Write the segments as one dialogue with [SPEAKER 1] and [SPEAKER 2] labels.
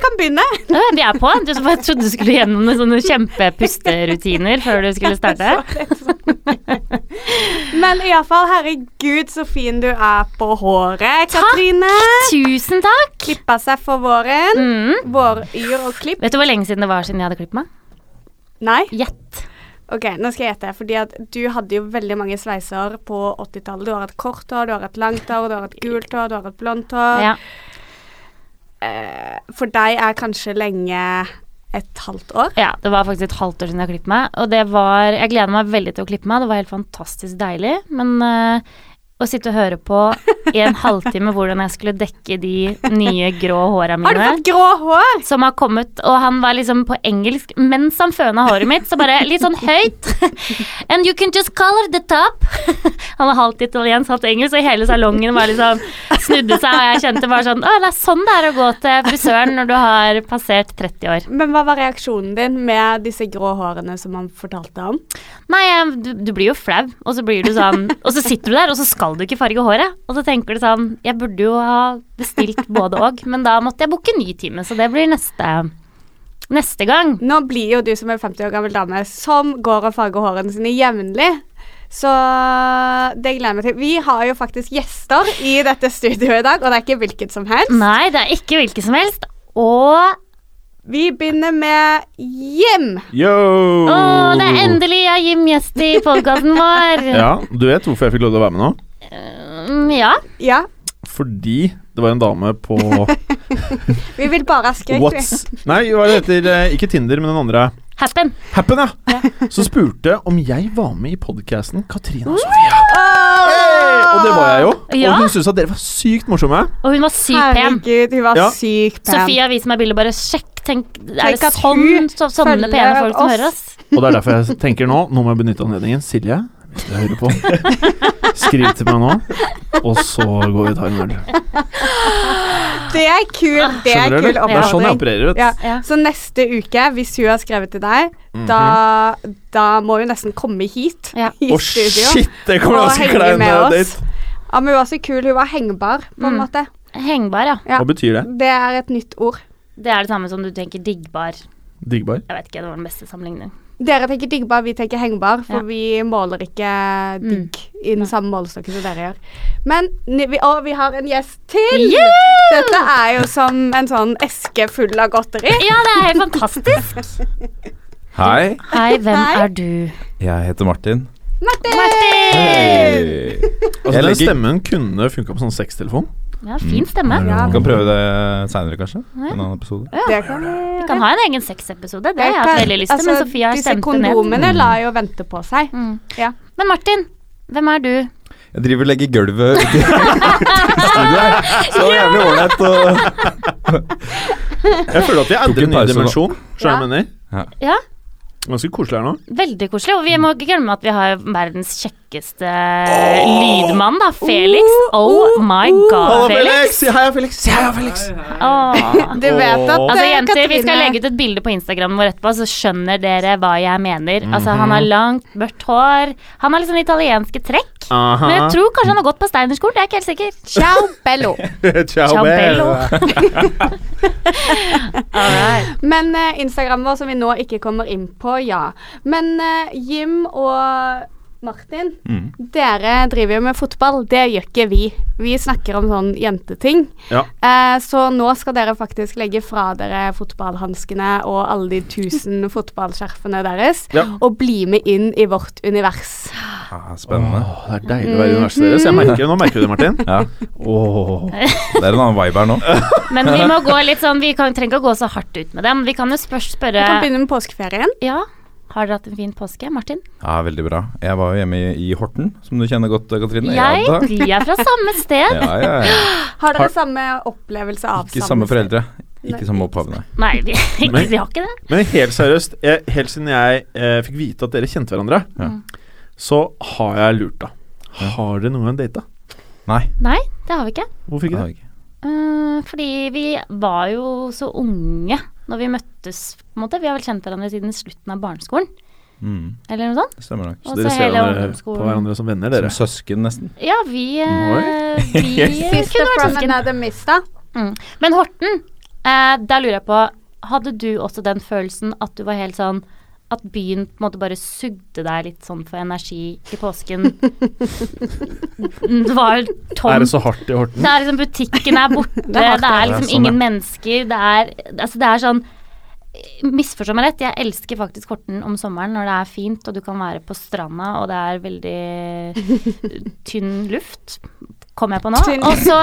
[SPEAKER 1] kan begynne.
[SPEAKER 2] Ja, vi er på. Du som bare trodde du skulle gjennom noen sånne kjempepusterutiner før du skulle starte.
[SPEAKER 1] Men iallfall, herregud så fin du er på håret,
[SPEAKER 2] Takk.
[SPEAKER 1] Katrine.
[SPEAKER 2] Tusen takk!
[SPEAKER 1] Klippa seg for våren.
[SPEAKER 2] Mm.
[SPEAKER 1] Våryr og klipp.
[SPEAKER 2] Vet du hvor lenge siden det var siden jeg hadde klippet meg?
[SPEAKER 1] Nei?
[SPEAKER 2] Gjett.
[SPEAKER 1] Ok, nå skal jeg gjette. Fordi at du hadde jo veldig mange sveiser på 80-tallet. Du har hatt kort hår, du har hatt langt hår, du har hatt gult hår, du har hatt blondt hår.
[SPEAKER 2] Ja.
[SPEAKER 1] Eh, for deg er kanskje lenge et halvt år.
[SPEAKER 2] ja, det var faktisk et halvt år siden jeg klippet meg. Og det var Jeg gleder meg veldig til å klippe meg, det var helt fantastisk deilig. Men eh, å sitte og høre på i en halvtime hvordan jeg skulle dekke de nye grå håra mine
[SPEAKER 1] Har du fått grå hår?
[SPEAKER 2] som har kommet, og han var liksom på engelsk mens han føna håret mitt, så bare litt sånn høyt. And you can just color the top. Han var halvt italiensk, halvt engelsk, og hele salongen var liksom snudde seg, og jeg kjente bare sånn Å, det er sånn det er å gå til frisøren når du har passert 30 år.
[SPEAKER 1] Men hva var reaksjonen din med disse grå hårene som han fortalte om?
[SPEAKER 2] Nei, jeg- du, du blir jo flau, og så blir du sånn Og så sitter du der, og så skal du ikke farge håret. Og så tenker du sånn Jeg burde jo ha bestilt både og, men da måtte jeg booke ny time, så det blir neste Neste gang.
[SPEAKER 1] Nå blir jo du som en 50 år gammel dame som går og farger hårene sine jevnlig. Så det gleder jeg meg til. Vi har jo faktisk gjester i dette studioet i dag, og det er ikke hvilket som helst.
[SPEAKER 2] Nei, det er ikke hvilken som helst. Og
[SPEAKER 1] Vi begynner med Jim.
[SPEAKER 3] Yo!
[SPEAKER 2] Å, det er endelig jeg er Jim gjest i podkasten vår!
[SPEAKER 3] Ja, du vet hvorfor jeg fikk lov til å være med nå?
[SPEAKER 2] Mm, ja.
[SPEAKER 1] Ja,
[SPEAKER 3] Fordi det var en dame på
[SPEAKER 1] vi vil bare ha skrekk. vi.
[SPEAKER 3] Whats Nei, hva er det heter? Eh, Ikke Tinder, men den andre.
[SPEAKER 2] Happen.
[SPEAKER 3] Happen, ja! Som spurte om jeg var med i podkasten Katrine og Sofia. Hey! Og det var jeg jo.
[SPEAKER 2] Ja.
[SPEAKER 3] Og hun syntes at dere var sykt morsomme.
[SPEAKER 2] Og hun var sykt pen.
[SPEAKER 1] Herregud, hun var
[SPEAKER 3] Ja.
[SPEAKER 1] sykt pen.
[SPEAKER 2] Sofia viser meg bildet og bare sjekk. Tenk, er
[SPEAKER 1] Tenk
[SPEAKER 2] det
[SPEAKER 1] at hun
[SPEAKER 2] sånn, så, sånne
[SPEAKER 1] følger
[SPEAKER 2] pene folk som
[SPEAKER 1] oss.
[SPEAKER 2] hører oss?
[SPEAKER 3] Og det er derfor jeg tenker nå Nå må jeg benytte anledningen. Silje, hvis du hører på, skriv til meg nå, og så går vi og tar en øl.
[SPEAKER 1] Det er kul,
[SPEAKER 2] Ah.
[SPEAKER 1] det er
[SPEAKER 3] Skjønner du?
[SPEAKER 1] kul
[SPEAKER 3] eller? Det er sånn jeg
[SPEAKER 1] oppfordring.
[SPEAKER 3] opererer, vet du.
[SPEAKER 1] Ja.
[SPEAKER 2] Ja.
[SPEAKER 1] Så neste uke, hvis hun har skrevet til deg,
[SPEAKER 3] Mhm.
[SPEAKER 1] da, da må hun nesten komme hit.
[SPEAKER 2] Ja.
[SPEAKER 1] I
[SPEAKER 3] Å,
[SPEAKER 1] studio.
[SPEAKER 3] shit! Det kommer
[SPEAKER 1] Og
[SPEAKER 3] ganske
[SPEAKER 1] henge
[SPEAKER 3] klein
[SPEAKER 1] med oss.
[SPEAKER 3] eh, date.
[SPEAKER 1] Ja, men hun var så kul. Hun var hengbar, på en
[SPEAKER 2] Mm.
[SPEAKER 1] måte.
[SPEAKER 2] Hengbar, ja.
[SPEAKER 1] Ja.
[SPEAKER 3] Hva betyr det?
[SPEAKER 1] Det er et nytt ord.
[SPEAKER 2] Det er det samme som du tenker diggbar.
[SPEAKER 3] Diggbar?
[SPEAKER 2] Jeg vet ikke, det var den beste sammenligning.
[SPEAKER 1] Dere tenker diggbar, vi tenker hengbar, for
[SPEAKER 2] Ja. Mm.
[SPEAKER 1] vi måler ikke digg i den samme målestokken som dere gjør. Men ni- vi, Og vi har en gjest til!
[SPEAKER 2] Yeah!
[SPEAKER 1] Dette er jo som en sånn eske full av godteri.
[SPEAKER 2] Ja, det er helt fantastisk!
[SPEAKER 4] Hei,
[SPEAKER 2] Hei, hvem
[SPEAKER 1] Hei.
[SPEAKER 2] er du?
[SPEAKER 4] jeg heter Martin.
[SPEAKER 1] Martin!
[SPEAKER 2] Martin!
[SPEAKER 3] Altså,
[SPEAKER 4] Jeg
[SPEAKER 3] den
[SPEAKER 4] legger-
[SPEAKER 3] stemmen kunne funka på sånn sextelefon.
[SPEAKER 2] Ja, fin stemme.
[SPEAKER 1] Ja.
[SPEAKER 4] Vi kan prøve det seinere, kanskje. En annen episode.
[SPEAKER 1] Det kan altså,
[SPEAKER 2] Vi kan ha en egen sexepisode, det har jeg hatt veldig lyst til, men Sofia har
[SPEAKER 1] disse
[SPEAKER 2] stemt det ned.
[SPEAKER 1] kondomene lar jo vente på seg.
[SPEAKER 2] Mm.
[SPEAKER 1] Ja.
[SPEAKER 2] Men Martin, hvem er du?
[SPEAKER 4] Jeg driver og legger gulvet uti studioet her. Så det var jævlig ålreit å
[SPEAKER 3] Jeg føler at vi
[SPEAKER 4] Tok en
[SPEAKER 3] endrer en ny
[SPEAKER 4] pause nå.
[SPEAKER 3] dimensjon. Skjønner du hva jeg mener?
[SPEAKER 2] Ja,
[SPEAKER 3] Ganske koselig her nå.
[SPEAKER 2] Veldig koselig. Og vi må ikke glemme at vi har verdens kjekkeste eh, lydmann, da. Felix. Oh, my god, Felix.
[SPEAKER 3] Si hei, Felix! Si hei, Felix!
[SPEAKER 2] Åh.
[SPEAKER 1] Du vet at
[SPEAKER 3] Åh.
[SPEAKER 2] Altså,
[SPEAKER 1] eh,
[SPEAKER 2] jenter, Vi skal
[SPEAKER 1] Katrine-
[SPEAKER 2] legge ut et bilde på Instagram vår etterpå, så skjønner dere hva jeg mener. Altså, Han har langt, mørkt hår. Han har liksom italienske trekk. Men jeg tror kanskje han har gått på steinerskolen. Jeg er ikke helt sikker.
[SPEAKER 1] Ciao, bello.
[SPEAKER 3] Ciao,
[SPEAKER 2] Ciao,
[SPEAKER 3] bello.
[SPEAKER 2] All right.
[SPEAKER 1] Men eh, Instagram vår, som vi nå ikke kommer inn på, ja. Men eh, Jim og Martin,
[SPEAKER 4] Mm.
[SPEAKER 1] dere driver jo med fotball. Det gjør ikke vi. Vi snakker om sånn jenteting.
[SPEAKER 3] Ja.
[SPEAKER 1] Eh, så nå skal dere faktisk legge fra dere fotballhanskene og alle de tusen fotballskjerfene deres,
[SPEAKER 3] Ja.
[SPEAKER 1] og bli med inn i vårt univers.
[SPEAKER 4] ah, Spennende.
[SPEAKER 3] Åh, det er deilig å være
[SPEAKER 2] Mhm.
[SPEAKER 3] i universet deres. Jeg merker, nå merker du det, Martin.
[SPEAKER 4] Ja,
[SPEAKER 3] Åh.
[SPEAKER 4] Det er en annen vibe her nå.
[SPEAKER 2] Men vi må gå litt sånn Vi kan, trenger ikke å gå så hardt ut med dem. Vi kan jo spørre,
[SPEAKER 1] Vi kan
[SPEAKER 2] spørre
[SPEAKER 1] begynne med påskeferien.
[SPEAKER 2] Ja, har dere hatt en fin påske, Martin?
[SPEAKER 4] Ja, Veldig bra. Jeg var jo hjemme i, i Horten, som du kjenner godt, Katrine.
[SPEAKER 2] Jeg?
[SPEAKER 4] Ja, da.
[SPEAKER 2] Vi er fra samme sted.
[SPEAKER 4] Ja, ja, ja.
[SPEAKER 1] Har dere
[SPEAKER 4] Har-
[SPEAKER 1] samme opplevelse av
[SPEAKER 4] Ikke samme foreldre. Ikke samme opphav, nei.
[SPEAKER 2] Nei, vi,
[SPEAKER 3] Men-
[SPEAKER 2] vi har ikke det.
[SPEAKER 3] Men helt seriøst, jeg, helt siden jeg eh, fikk vite at dere kjente hverandre,
[SPEAKER 4] Ja.
[SPEAKER 3] så har jeg lurt, da. Har dere noen gang data?
[SPEAKER 4] Nei.
[SPEAKER 2] Nei, det har vi ikke.
[SPEAKER 3] Hvorfor
[SPEAKER 4] det
[SPEAKER 3] ikke
[SPEAKER 4] har
[SPEAKER 3] det?
[SPEAKER 4] jeg ikke.
[SPEAKER 2] Eh, fordi vi var jo så unge når vi møttes, på en måte. Vi har vel kjent hverandre siden slutten av barneskolen,
[SPEAKER 4] Mm,
[SPEAKER 2] eller noe sånt.
[SPEAKER 4] det stemmer nok.
[SPEAKER 3] Så
[SPEAKER 2] Og
[SPEAKER 3] dere
[SPEAKER 2] så
[SPEAKER 3] ser
[SPEAKER 2] hele
[SPEAKER 3] hverandre på
[SPEAKER 2] ungdomsskolen.
[SPEAKER 3] hverandre som venner, dere?
[SPEAKER 4] Som søsken, nesten.
[SPEAKER 2] Ja, vi, eh, vi eh,
[SPEAKER 1] Sister
[SPEAKER 2] kunne vært
[SPEAKER 1] from
[SPEAKER 2] søsken.
[SPEAKER 1] another mister.
[SPEAKER 2] Mm. Men Horten Eh, da lurer jeg på, hadde du også den følelsen at du var helt sånn at byen på en måte bare sugde deg litt sånn for energi i påsken? det var
[SPEAKER 3] Er det
[SPEAKER 2] tomt.
[SPEAKER 3] så hardt i Horten?
[SPEAKER 2] Det er liksom butikken er borte, det
[SPEAKER 1] er
[SPEAKER 2] er,
[SPEAKER 1] hardt,
[SPEAKER 2] liksom
[SPEAKER 3] Det er sånn,
[SPEAKER 2] ingen
[SPEAKER 3] ja.
[SPEAKER 2] mennesker, det er Altså, det er sånn Misforstå meg rett, jeg elsker faktisk Horten om sommeren når det er fint og du kan være på stranda og det er veldig tynn luft. Kom jeg på nå?
[SPEAKER 1] Tynn.
[SPEAKER 2] Og så,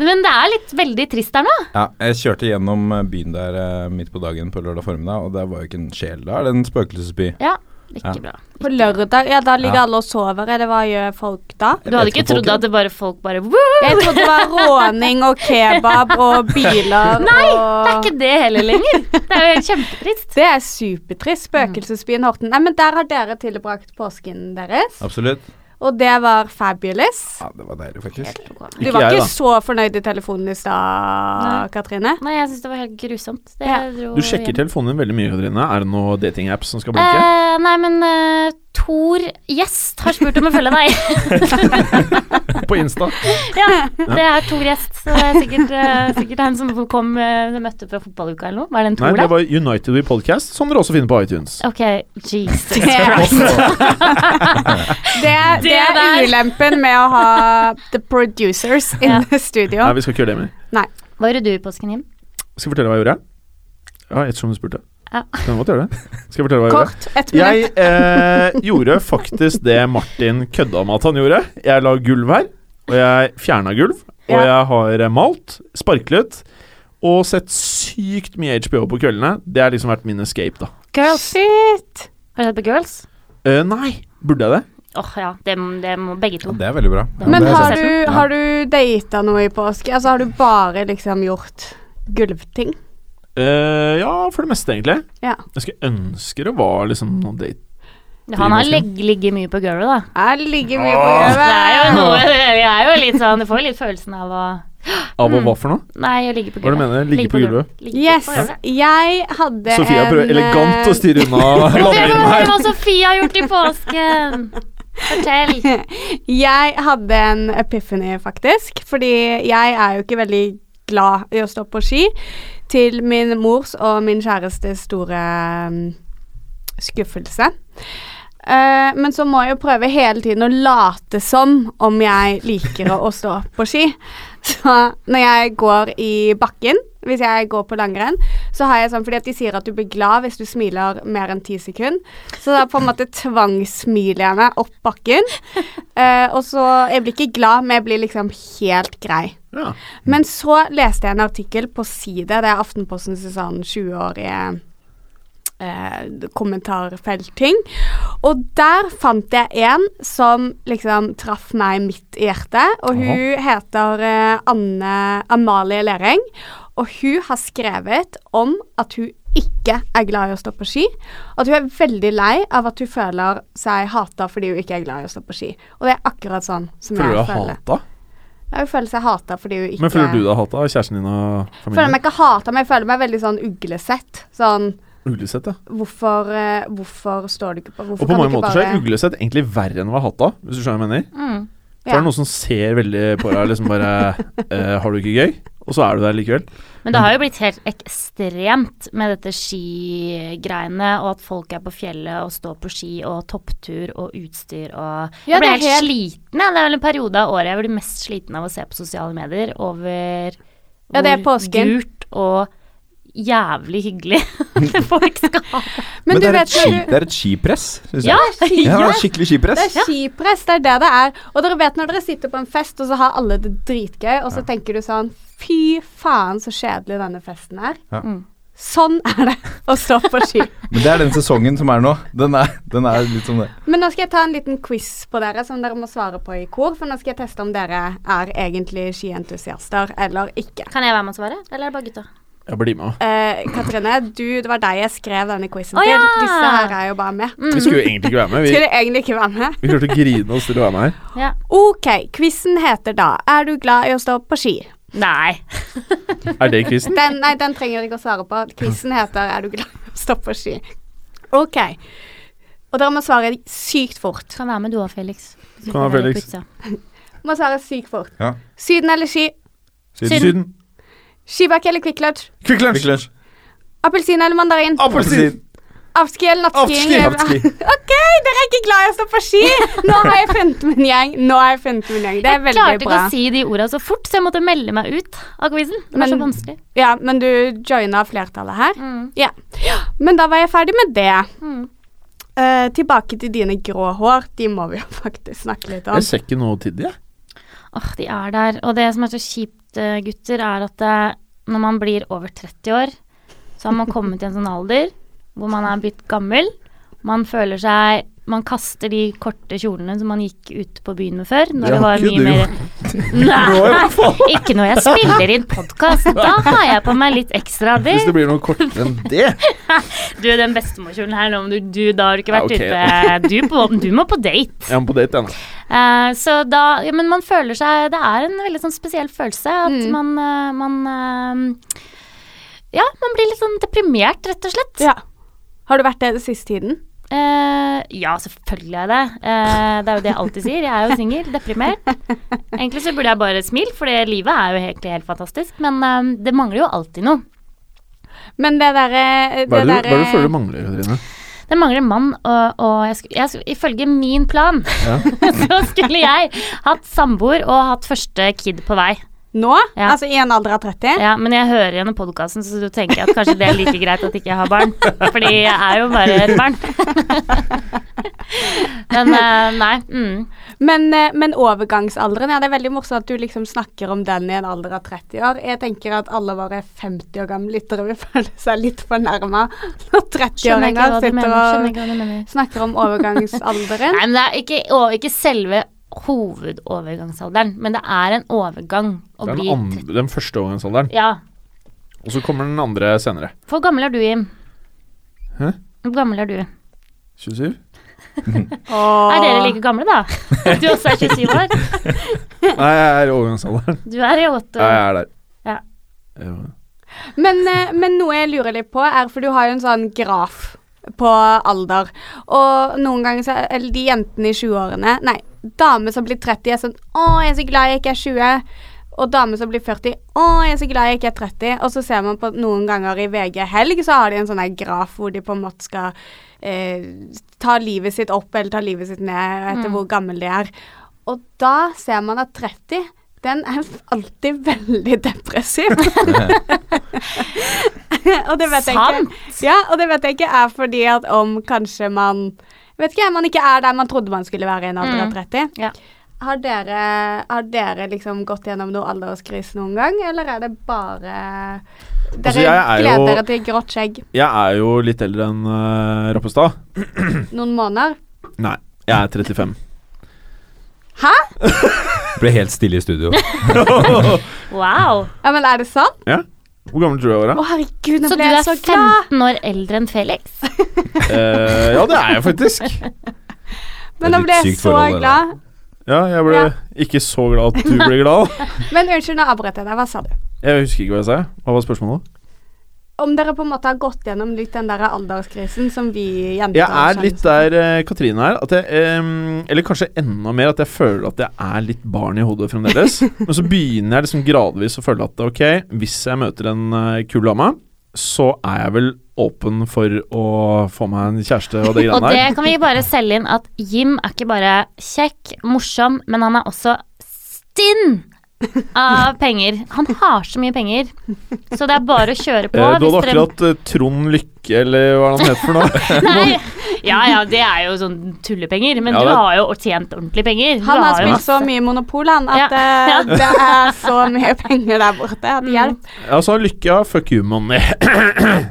[SPEAKER 2] men det er litt veldig trist der nå.
[SPEAKER 4] Ja, jeg kjørte gjennom eh, byen der eh, midt på dagen på lørdag formiddag, og der var jo ikke en sjel. Da er det en spøkelsesby.
[SPEAKER 2] Ja, ikke
[SPEAKER 4] Ja.
[SPEAKER 2] bra.
[SPEAKER 1] På lørdag, ja, da ligger
[SPEAKER 4] Ja.
[SPEAKER 1] alle og sover. Er det hva gjør folk da?
[SPEAKER 2] Du hadde ikke trodd at det bare folk bare Woo!
[SPEAKER 1] Jeg trodde det var råning og kebab og biler
[SPEAKER 2] Nei,
[SPEAKER 1] og
[SPEAKER 2] det er ikke det heller lenger. Det er jo helt kjempetrist.
[SPEAKER 1] Det er supertrist. Spøkelsesbyen Horten. Nei, men der har dere tilbrakt påsken deres,
[SPEAKER 4] Absolutt.
[SPEAKER 1] og det var fabulous.
[SPEAKER 4] Ja, det var deilig, faktisk.
[SPEAKER 2] Helt ok.
[SPEAKER 1] Du
[SPEAKER 3] Ikke
[SPEAKER 1] var
[SPEAKER 3] jeg,
[SPEAKER 1] ikke
[SPEAKER 3] da.
[SPEAKER 1] så fornøyd i telefonen i stad, Katrine?
[SPEAKER 2] Nei, jeg syns det var helt grusomt. Det
[SPEAKER 1] Ja.
[SPEAKER 2] dro
[SPEAKER 3] Du sjekker
[SPEAKER 2] hjem.
[SPEAKER 3] telefonen din veldig mye, Katrine. Er det noe datingapps som skal blinke?
[SPEAKER 2] Eh, nei, men eh, Tor Gjest har spurt om å følge deg.
[SPEAKER 3] På Insta?
[SPEAKER 2] ja, det er Tor Gjest. Så det er sikkert, eh, sikkert han som kom uh, møtte fra fotballuka eller noe. Var det en
[SPEAKER 3] Nei,
[SPEAKER 2] Tor
[SPEAKER 3] det
[SPEAKER 2] der?
[SPEAKER 3] var United We Podcast, som dere også finner på iTunes.
[SPEAKER 2] Ok, Jesus
[SPEAKER 1] Det,
[SPEAKER 2] Christ.
[SPEAKER 1] det,
[SPEAKER 2] Det
[SPEAKER 1] er
[SPEAKER 2] der.
[SPEAKER 1] ulempen med å ha the producers in
[SPEAKER 2] Ja.
[SPEAKER 1] the studio.
[SPEAKER 3] Nei, vi skal ikke gjøre det mer.
[SPEAKER 1] Nei.
[SPEAKER 2] Hva gjorde du i påsken, Jim?
[SPEAKER 3] Skal jeg fortelle hva jeg gjorde? Ja, ettersom du spurte.
[SPEAKER 2] Ja.
[SPEAKER 3] Kan jeg godt gjøre det. Skal jeg fortelle hva jeg gjorde?
[SPEAKER 1] Kort. Ett minutt.
[SPEAKER 3] Jeg eh, gjorde faktisk det Martin kødda med at han gjorde. Jeg la gulv her, og jeg fjerna gulv. Og
[SPEAKER 1] Ja.
[SPEAKER 3] jeg har eh, malt, sparklet og sett sykt mye HBO på kveldene. Det har liksom vært min escape, da.
[SPEAKER 2] Girls.
[SPEAKER 1] Shit.
[SPEAKER 2] Har du sett på Girls?
[SPEAKER 3] Eh, nei, burde jeg det?
[SPEAKER 2] Åh ja, det, må- det må begge to.
[SPEAKER 4] Ja, det er veldig bra.
[SPEAKER 2] Ja,
[SPEAKER 1] Men
[SPEAKER 4] det er sånn-
[SPEAKER 1] har
[SPEAKER 4] sant.
[SPEAKER 1] du,
[SPEAKER 4] Ja.
[SPEAKER 1] har du data noe i påske? Altså har du bare liksom gjort gulvting?
[SPEAKER 3] Eh, ja, for det meste, egentlig.
[SPEAKER 1] Ja.
[SPEAKER 3] Jeg skulle ønske det var liksom noen date
[SPEAKER 2] Han har legg, ligget mye på girlet, da.
[SPEAKER 1] Jeg ligger mye på
[SPEAKER 3] Åh,
[SPEAKER 2] Det er jo
[SPEAKER 1] gulvet.
[SPEAKER 2] noe Jeg er jo litt sånn Du får jo litt følelsen av å
[SPEAKER 3] av
[SPEAKER 1] Mm.
[SPEAKER 3] og hva for noe.
[SPEAKER 2] Nei, jeg ligger på
[SPEAKER 3] Hva er
[SPEAKER 2] gulvet.
[SPEAKER 3] det du mener? Ligge på gulvet?
[SPEAKER 2] Ligge
[SPEAKER 1] Yes.
[SPEAKER 2] på gulvet.
[SPEAKER 1] Jeg hadde
[SPEAKER 3] Sofia
[SPEAKER 1] en
[SPEAKER 3] prøver elegant å
[SPEAKER 1] eh,
[SPEAKER 3] styre unna
[SPEAKER 2] Det
[SPEAKER 3] landingen
[SPEAKER 2] var
[SPEAKER 3] her.
[SPEAKER 2] hva Sofie har gjort i påsken. Fortell.
[SPEAKER 1] Jeg hadde en epiphany, faktisk. Fordi jeg er jo ikke veldig glad i å stå på ski. Til min mors og min kjærestes store mm, skuffelse. Eh, men så må jeg jo prøve hele tiden å late som om jeg liker å å stå på ski. Så når jeg går i bakken, hvis jeg går på langrenn, så har jeg sånn fordi at de sier at du blir glad hvis du smiler mer enn ti sekunder. Så da på en måte tvangssmiler jeg meg opp bakken. Eh, og så Jeg blir ikke glad, men jeg blir liksom helt grei.
[SPEAKER 3] Ja.
[SPEAKER 1] Men så leste jeg en artikkel på Side, det er Aftenpostens sånn 20-årige eh, kommentarfeltting. Og der fant jeg en som liksom traff meg midt i hjertet. Og hun heter eh, Anne Amalie Lereng. Og hun har skrevet om at hun ikke er glad i å stå på ski. og At hun er veldig lei av at hun føler seg hata fordi hun ikke er glad i å stå på ski. Og det er akkurat sånn som
[SPEAKER 3] Føler du
[SPEAKER 1] jeg
[SPEAKER 3] deg
[SPEAKER 1] føler.
[SPEAKER 3] hata?
[SPEAKER 1] Ja, Hun føler seg hata fordi hun ikke
[SPEAKER 3] Men føler du deg hata av kjæresten din og
[SPEAKER 1] føler
[SPEAKER 3] familien?
[SPEAKER 1] meg ikke hata, men jeg føler meg veldig sånn uglesett. Sånn
[SPEAKER 3] Uglesett, ja.
[SPEAKER 1] Hvorfor, eh, hvorfor står du ikke på hvorfor
[SPEAKER 3] Og på
[SPEAKER 1] kan du
[SPEAKER 3] mange
[SPEAKER 1] ikke
[SPEAKER 3] måter så
[SPEAKER 1] bare
[SPEAKER 3] er uglesett egentlig verre enn å være hata, hvis du skjønner hva jeg mener.
[SPEAKER 2] Mm.
[SPEAKER 3] For det er noen som ser veldig på deg liksom bare eh, Har du ikke gøy? Og så er du der likevel.
[SPEAKER 2] Men det har jo blitt helt ekstremt med dette skigreiene, og at folk er på fjellet og står på ski og topptur og utstyr og
[SPEAKER 1] Ja, det
[SPEAKER 2] Jeg
[SPEAKER 1] er
[SPEAKER 2] blir helt,
[SPEAKER 1] helt-
[SPEAKER 2] sliten, jeg. Det er vel en periode av året jeg blir mest sliten av å se på sosiale medier over
[SPEAKER 1] Ja, det er
[SPEAKER 2] hvor
[SPEAKER 1] påsken.
[SPEAKER 2] gult og jævlig hyggelig folk skal ha det.
[SPEAKER 1] Men,
[SPEAKER 4] Men
[SPEAKER 1] du
[SPEAKER 4] det er et
[SPEAKER 1] vet når
[SPEAKER 4] ski-
[SPEAKER 1] du
[SPEAKER 4] det er et skipress, syns
[SPEAKER 2] Ja,
[SPEAKER 4] jeg. Ja, det er skikkelig skipress.
[SPEAKER 1] det er skipress, det er det det er. Og dere vet når dere sitter på en fest, og så har alle det dritgøy, og så tenker du sånn Fy faen, så kjedelig denne festen er.
[SPEAKER 4] Ja.
[SPEAKER 2] Mm.
[SPEAKER 1] Sånn er det å stå på ski.
[SPEAKER 4] Men det er den sesongen som er nå. Den er, den er litt sånn det.
[SPEAKER 1] Men nå skal jeg ta en liten quiz på dere som dere må svare på i kor. For nå skal jeg teste om dere er egentlig skientusiaster eller ikke.
[SPEAKER 2] Kan jeg være med og svare, eller er det bare gutta?
[SPEAKER 3] Jeg blir med.
[SPEAKER 1] Eh, Katrine, du, det var deg jeg skrev denne quizen
[SPEAKER 2] Å, ja!
[SPEAKER 1] til. Disse her er jo bare med.
[SPEAKER 3] Vi skulle jo egentlig ikke være med.
[SPEAKER 1] Mm. Skulle
[SPEAKER 3] Vi,
[SPEAKER 1] egentlig ikke være med.
[SPEAKER 3] vi klarte å grine oss til å være med her.
[SPEAKER 2] Ja.
[SPEAKER 1] OK, quizen heter da 'Er du glad i å stå på ski'?
[SPEAKER 2] Nei.
[SPEAKER 3] Er det quizen?
[SPEAKER 1] Den, nei, den trenger du ikke å svare på. Quizen heter 'Er du glad i å stå på ski'? OK. Og dere må svare sykt fort.
[SPEAKER 2] Kan være med du òg, Felix. Du
[SPEAKER 3] Kan være
[SPEAKER 2] være på
[SPEAKER 3] Felix.
[SPEAKER 2] utsa.
[SPEAKER 1] Må svare sykt fort.
[SPEAKER 4] Ja.
[SPEAKER 1] Syden eller ski?
[SPEAKER 3] Syden.
[SPEAKER 1] Skibakk eller Kvikk Lunsj?
[SPEAKER 3] Kvikk Lunsj!
[SPEAKER 4] Lunsj.
[SPEAKER 1] Appelsin eller mandarin?
[SPEAKER 3] Appelsin!
[SPEAKER 1] Afterski eller nattski?
[SPEAKER 4] Afterski, afterski.
[SPEAKER 1] OK, dere er ikke glad i å stå på ski! Nå har jeg funnet min gjeng. Nå har jeg funnet min gjeng. Det er
[SPEAKER 2] Klarte
[SPEAKER 1] veldig
[SPEAKER 2] ikke
[SPEAKER 1] bra.
[SPEAKER 2] å si de orda så fort, så jeg måtte melde meg ut av quizen. Det var
[SPEAKER 1] Men-
[SPEAKER 2] så vanskelig.
[SPEAKER 1] Ja, men du joina flertallet her.
[SPEAKER 2] Mm.
[SPEAKER 1] Ja. Men da var jeg ferdig med det.
[SPEAKER 2] Mm.
[SPEAKER 1] Eh, tilbake til dine grå hår. De må vi jo faktisk snakke litt om.
[SPEAKER 3] Jeg ser ikke noe til det. jeg.
[SPEAKER 2] Åh, de er der. Og det som er så kjipt, eh, gutter, er at eh, når man blir over 30 år, så har man kommet til en sånn alder hvor man er blitt gammel. Man føler seg Man kaster de korte kjolene som man gikk ute på byen med før. Når
[SPEAKER 4] Det
[SPEAKER 2] det
[SPEAKER 4] har
[SPEAKER 2] var mye
[SPEAKER 4] ikke du
[SPEAKER 2] mer
[SPEAKER 4] Du har
[SPEAKER 2] Nei,
[SPEAKER 4] i hvert fall-
[SPEAKER 2] ikke når jeg spiller inn podkast. Da har jeg på meg litt ekstra. Det,
[SPEAKER 4] Hvis det blir noe kortere enn det
[SPEAKER 2] du, den bestemorkjolen her nå, men du, du, da har du ikke
[SPEAKER 3] Ja,
[SPEAKER 2] vært
[SPEAKER 3] ok.
[SPEAKER 2] ute. Du, på, du må på date.
[SPEAKER 3] Jeg må på date ennå.
[SPEAKER 2] Eh, så da ja, Men man føler seg Det er en veldig sånn spesiell følelse at
[SPEAKER 1] Mm.
[SPEAKER 2] man, eh, man eh, Ja, man blir litt sånn deprimert, rett og slett.
[SPEAKER 1] Ja. Har du vært det den siste tiden?
[SPEAKER 2] Eh, ja, selvfølgelig er jeg det. Eh, det er jo det jeg alltid sier. Jeg er jo singel, deprimert. Egentlig så burde jeg bare smile, for det livet er jo egentlig helt fantastisk. Men eh, det mangler jo alltid noe.
[SPEAKER 1] Men det eh, derre
[SPEAKER 3] Hva er det, du- hva er det du føler
[SPEAKER 1] derre-
[SPEAKER 3] du mangler, Trine?
[SPEAKER 2] Det mangler en mann, og, og jeg skulle, jeg skulle, ifølge min plan så skulle jeg hatt samboer og hatt første kid på vei.
[SPEAKER 1] Nå?
[SPEAKER 2] Ja.
[SPEAKER 1] Altså i en alder av 30?
[SPEAKER 2] Ja, men jeg hører gjennom podkasten, så du tenker at kanskje det er like greit at ikke jeg har barn. Fordi jeg er jo bare et barn. men eh, nei. Mm.
[SPEAKER 1] Men, eh, men overgangsalderen, ja, det er veldig morsomt at du liksom snakker om den i en alder av 30 år. Jeg tenker at alle våre 50 år gamle lyttere vil føle seg litt fornærma når
[SPEAKER 2] Skjønner
[SPEAKER 1] 30-åringer
[SPEAKER 2] ikke hva du mener.
[SPEAKER 1] sitter
[SPEAKER 2] Skjønner
[SPEAKER 1] og
[SPEAKER 2] ikke hva du mener.
[SPEAKER 1] snakker om overgangsalderen.
[SPEAKER 2] Nei, men det er ikke, og ikke selve hovedovergangsalderen, men det er en overgang å
[SPEAKER 3] Den,
[SPEAKER 2] bli
[SPEAKER 3] andre, den første overgangsalderen,
[SPEAKER 2] Ja.
[SPEAKER 3] og så kommer den andre senere.
[SPEAKER 2] Hvor gammel er du, Jim?
[SPEAKER 3] Hæ?
[SPEAKER 2] Hvor gammel er du?
[SPEAKER 3] 27?
[SPEAKER 2] Er dere
[SPEAKER 1] Ah.
[SPEAKER 2] like gamle, da? Du også er 27 år.
[SPEAKER 3] Nei, jeg er i overgangsalderen.
[SPEAKER 2] Du er i åtte
[SPEAKER 3] Ja, jeg
[SPEAKER 2] år.
[SPEAKER 3] er der.
[SPEAKER 2] Ja.
[SPEAKER 3] Ja.
[SPEAKER 1] Men, eh, men noe jeg lurer litt på, er for du har jo en sånn graf på alder. Og noen ganger så Eller de jentene i 20-årene Nei, damer som blir 30, er sånn Å, jeg er så glad jeg ikke er 20. Og damer som blir 40 Å, jeg er så glad jeg ikke er 30. Og så ser man på noen ganger i VG Helg, så har de en sånn her graf hvor de på en måte skal eh, ta livet sitt opp eller ta livet sitt ned etter hvor gammel de er. Og da ser man at 30, den er alltid veldig depressiv. og det vet jeg
[SPEAKER 2] Sant.
[SPEAKER 1] ikke. Ja, og det vet jeg ikke er fordi at om kanskje man Vet ikke, jeg, man ikke er der man trodde man skulle være i en alder av
[SPEAKER 2] Mm.
[SPEAKER 1] 30.
[SPEAKER 2] Ja.
[SPEAKER 1] Har dere, har dere liksom gått gjennom noe alderskrise noen gang, eller er det bare Dere
[SPEAKER 3] Altså, jeg er
[SPEAKER 1] gleder
[SPEAKER 3] jo-
[SPEAKER 1] dere til grått skjegg
[SPEAKER 3] Jeg er jo litt eldre enn eh, Rappestad.
[SPEAKER 1] noen måneder?
[SPEAKER 3] Nei, jeg er 35.
[SPEAKER 4] Ble helt stille i studio.
[SPEAKER 2] Wow.
[SPEAKER 1] Ja, men er det sant?
[SPEAKER 3] Ja? Hvor gammel tror du jeg var?
[SPEAKER 1] Å,
[SPEAKER 3] da?
[SPEAKER 1] herregud, nå
[SPEAKER 2] Så du
[SPEAKER 1] ble
[SPEAKER 2] er
[SPEAKER 1] jeg så glad!
[SPEAKER 2] 15 år eldre enn Felix?
[SPEAKER 3] Eh, ja, det er jeg faktisk.
[SPEAKER 1] Men nå
[SPEAKER 4] Det
[SPEAKER 1] ble
[SPEAKER 4] er litt
[SPEAKER 1] jeg
[SPEAKER 4] sykt
[SPEAKER 1] så
[SPEAKER 4] forhold, det
[SPEAKER 1] glad.
[SPEAKER 3] Ja, jeg ble
[SPEAKER 1] Ja.
[SPEAKER 3] ikke så glad at du ble glad.
[SPEAKER 1] Men unnskyld, nå avbrøt jeg deg. Hva sa du?
[SPEAKER 3] Jeg husker ikke hva jeg sa. Hva var spørsmålet?
[SPEAKER 1] Om dere på en måte har gått gjennom litt den der alderskrisen som vi jenter
[SPEAKER 3] Jeg
[SPEAKER 1] har
[SPEAKER 3] er litt
[SPEAKER 1] sjansen.
[SPEAKER 3] der eh, Katrine er. At jeg, eh, eller kanskje enda mer at jeg føler at jeg er litt barn i hodet fremdeles. Men så begynner jeg liksom gradvis å føle at ok, hvis jeg møter en eh, kul dame, så er jeg vel åpen for å få meg en kjæreste og det
[SPEAKER 2] Og
[SPEAKER 3] greiene
[SPEAKER 2] det
[SPEAKER 3] der.
[SPEAKER 2] kan vi bare selge inn at Jim er ikke bare kjekk, morsom, men han er også stinn av penger. Han har så mye penger, så det er bare å kjøre på.
[SPEAKER 3] Eh, du hadde
[SPEAKER 2] hvis dere-
[SPEAKER 3] akkurat eh, Trond Lykke, eller hva er det han heter for noe?
[SPEAKER 2] Nei, ja ja, det er jo sånn tullepenger, men
[SPEAKER 3] Ja,
[SPEAKER 2] du
[SPEAKER 3] det-
[SPEAKER 2] har jo tjent ordentlige penger. Du
[SPEAKER 1] Han har
[SPEAKER 2] jo
[SPEAKER 1] spilt så
[SPEAKER 2] masse.
[SPEAKER 1] mye Monopol, han, at
[SPEAKER 2] Ja. Mm.
[SPEAKER 1] eh, det er så mye penger der borte at hjelp.
[SPEAKER 3] Ja, så har Lykke har fuck you money.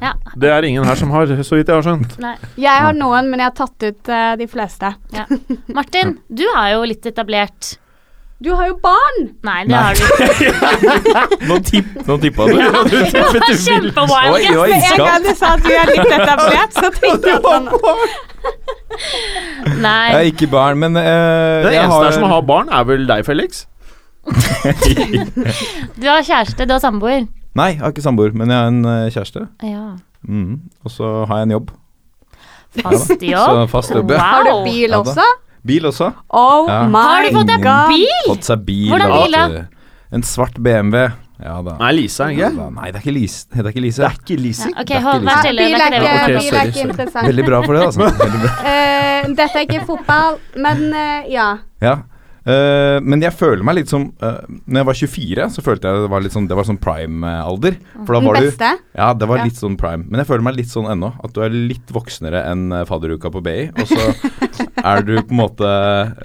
[SPEAKER 2] Ja,
[SPEAKER 3] Det er ingen her som har, så vidt jeg har skjønt.
[SPEAKER 2] nei.
[SPEAKER 1] Jeg har noen, men jeg har tatt ut eh, de fleste.
[SPEAKER 2] Ja. Martin, du er jo litt etablert.
[SPEAKER 1] Du har jo barn!
[SPEAKER 2] Nei, det
[SPEAKER 4] Nei.
[SPEAKER 2] har du
[SPEAKER 4] Nå, tipp, nå tippa du.
[SPEAKER 2] ikke. Kjempewild.
[SPEAKER 4] Oi, oi,
[SPEAKER 1] Med en
[SPEAKER 4] skatt.
[SPEAKER 1] gang du sa at du er litt etablert, så tenkte jeg sånn, at han
[SPEAKER 4] Jeg er
[SPEAKER 2] Nei.
[SPEAKER 4] ikke barn, men eh,
[SPEAKER 3] Det
[SPEAKER 4] jeg
[SPEAKER 3] eneste her som har barn, er vel deg, Felix?
[SPEAKER 2] Du har kjæreste, du har samboer.
[SPEAKER 4] Nei, jeg har ikke samboer, men jeg har en eh, kjæreste.
[SPEAKER 2] Ja.
[SPEAKER 4] Mm. Og så har jeg en jobb.
[SPEAKER 2] Fast jobb.
[SPEAKER 4] Så fast jobb, ja.
[SPEAKER 2] Wow.
[SPEAKER 1] Har du bil
[SPEAKER 4] Ja da.
[SPEAKER 1] også?
[SPEAKER 4] Bil også.
[SPEAKER 1] Oh
[SPEAKER 4] Ja.
[SPEAKER 1] my
[SPEAKER 2] Har du fått deg
[SPEAKER 1] god.
[SPEAKER 2] bil?
[SPEAKER 4] Fått seg bil.
[SPEAKER 2] Hvordan
[SPEAKER 4] da,
[SPEAKER 2] bil da?
[SPEAKER 4] vet du. En svart BMW. Ja da.
[SPEAKER 3] Nei, Lise, er det
[SPEAKER 4] Ja
[SPEAKER 3] ikke?
[SPEAKER 4] da. Nei, det er ikke Lise. Det heter ikke
[SPEAKER 3] Det
[SPEAKER 4] Lise.
[SPEAKER 3] er ikke Lise.
[SPEAKER 2] Ok,
[SPEAKER 4] Det er
[SPEAKER 2] hold, vær
[SPEAKER 4] ikke liksom-
[SPEAKER 2] stille. Det er ikke det
[SPEAKER 1] Bilek
[SPEAKER 2] vi
[SPEAKER 1] er
[SPEAKER 3] Ok,
[SPEAKER 1] bilek
[SPEAKER 3] sorry,
[SPEAKER 1] er
[SPEAKER 3] sorry.
[SPEAKER 1] interessant.
[SPEAKER 4] Veldig bra for det, altså. Veldig bra.
[SPEAKER 1] Eh, dette er ikke fotball, men eh, ja.
[SPEAKER 4] Ja. Eh, men jeg føler meg litt som uh, Når jeg var 24, så følte jeg det var litt sånn, det var sånn prime-alder. For da
[SPEAKER 2] Mm.
[SPEAKER 1] Den
[SPEAKER 4] var du
[SPEAKER 1] beste.
[SPEAKER 4] Ja, det var
[SPEAKER 1] Ja.
[SPEAKER 4] litt sånn prime. Men jeg føler meg litt sånn ennå. At du er litt voksnere enn eh, fadderuka på BI. Og så er du på en måte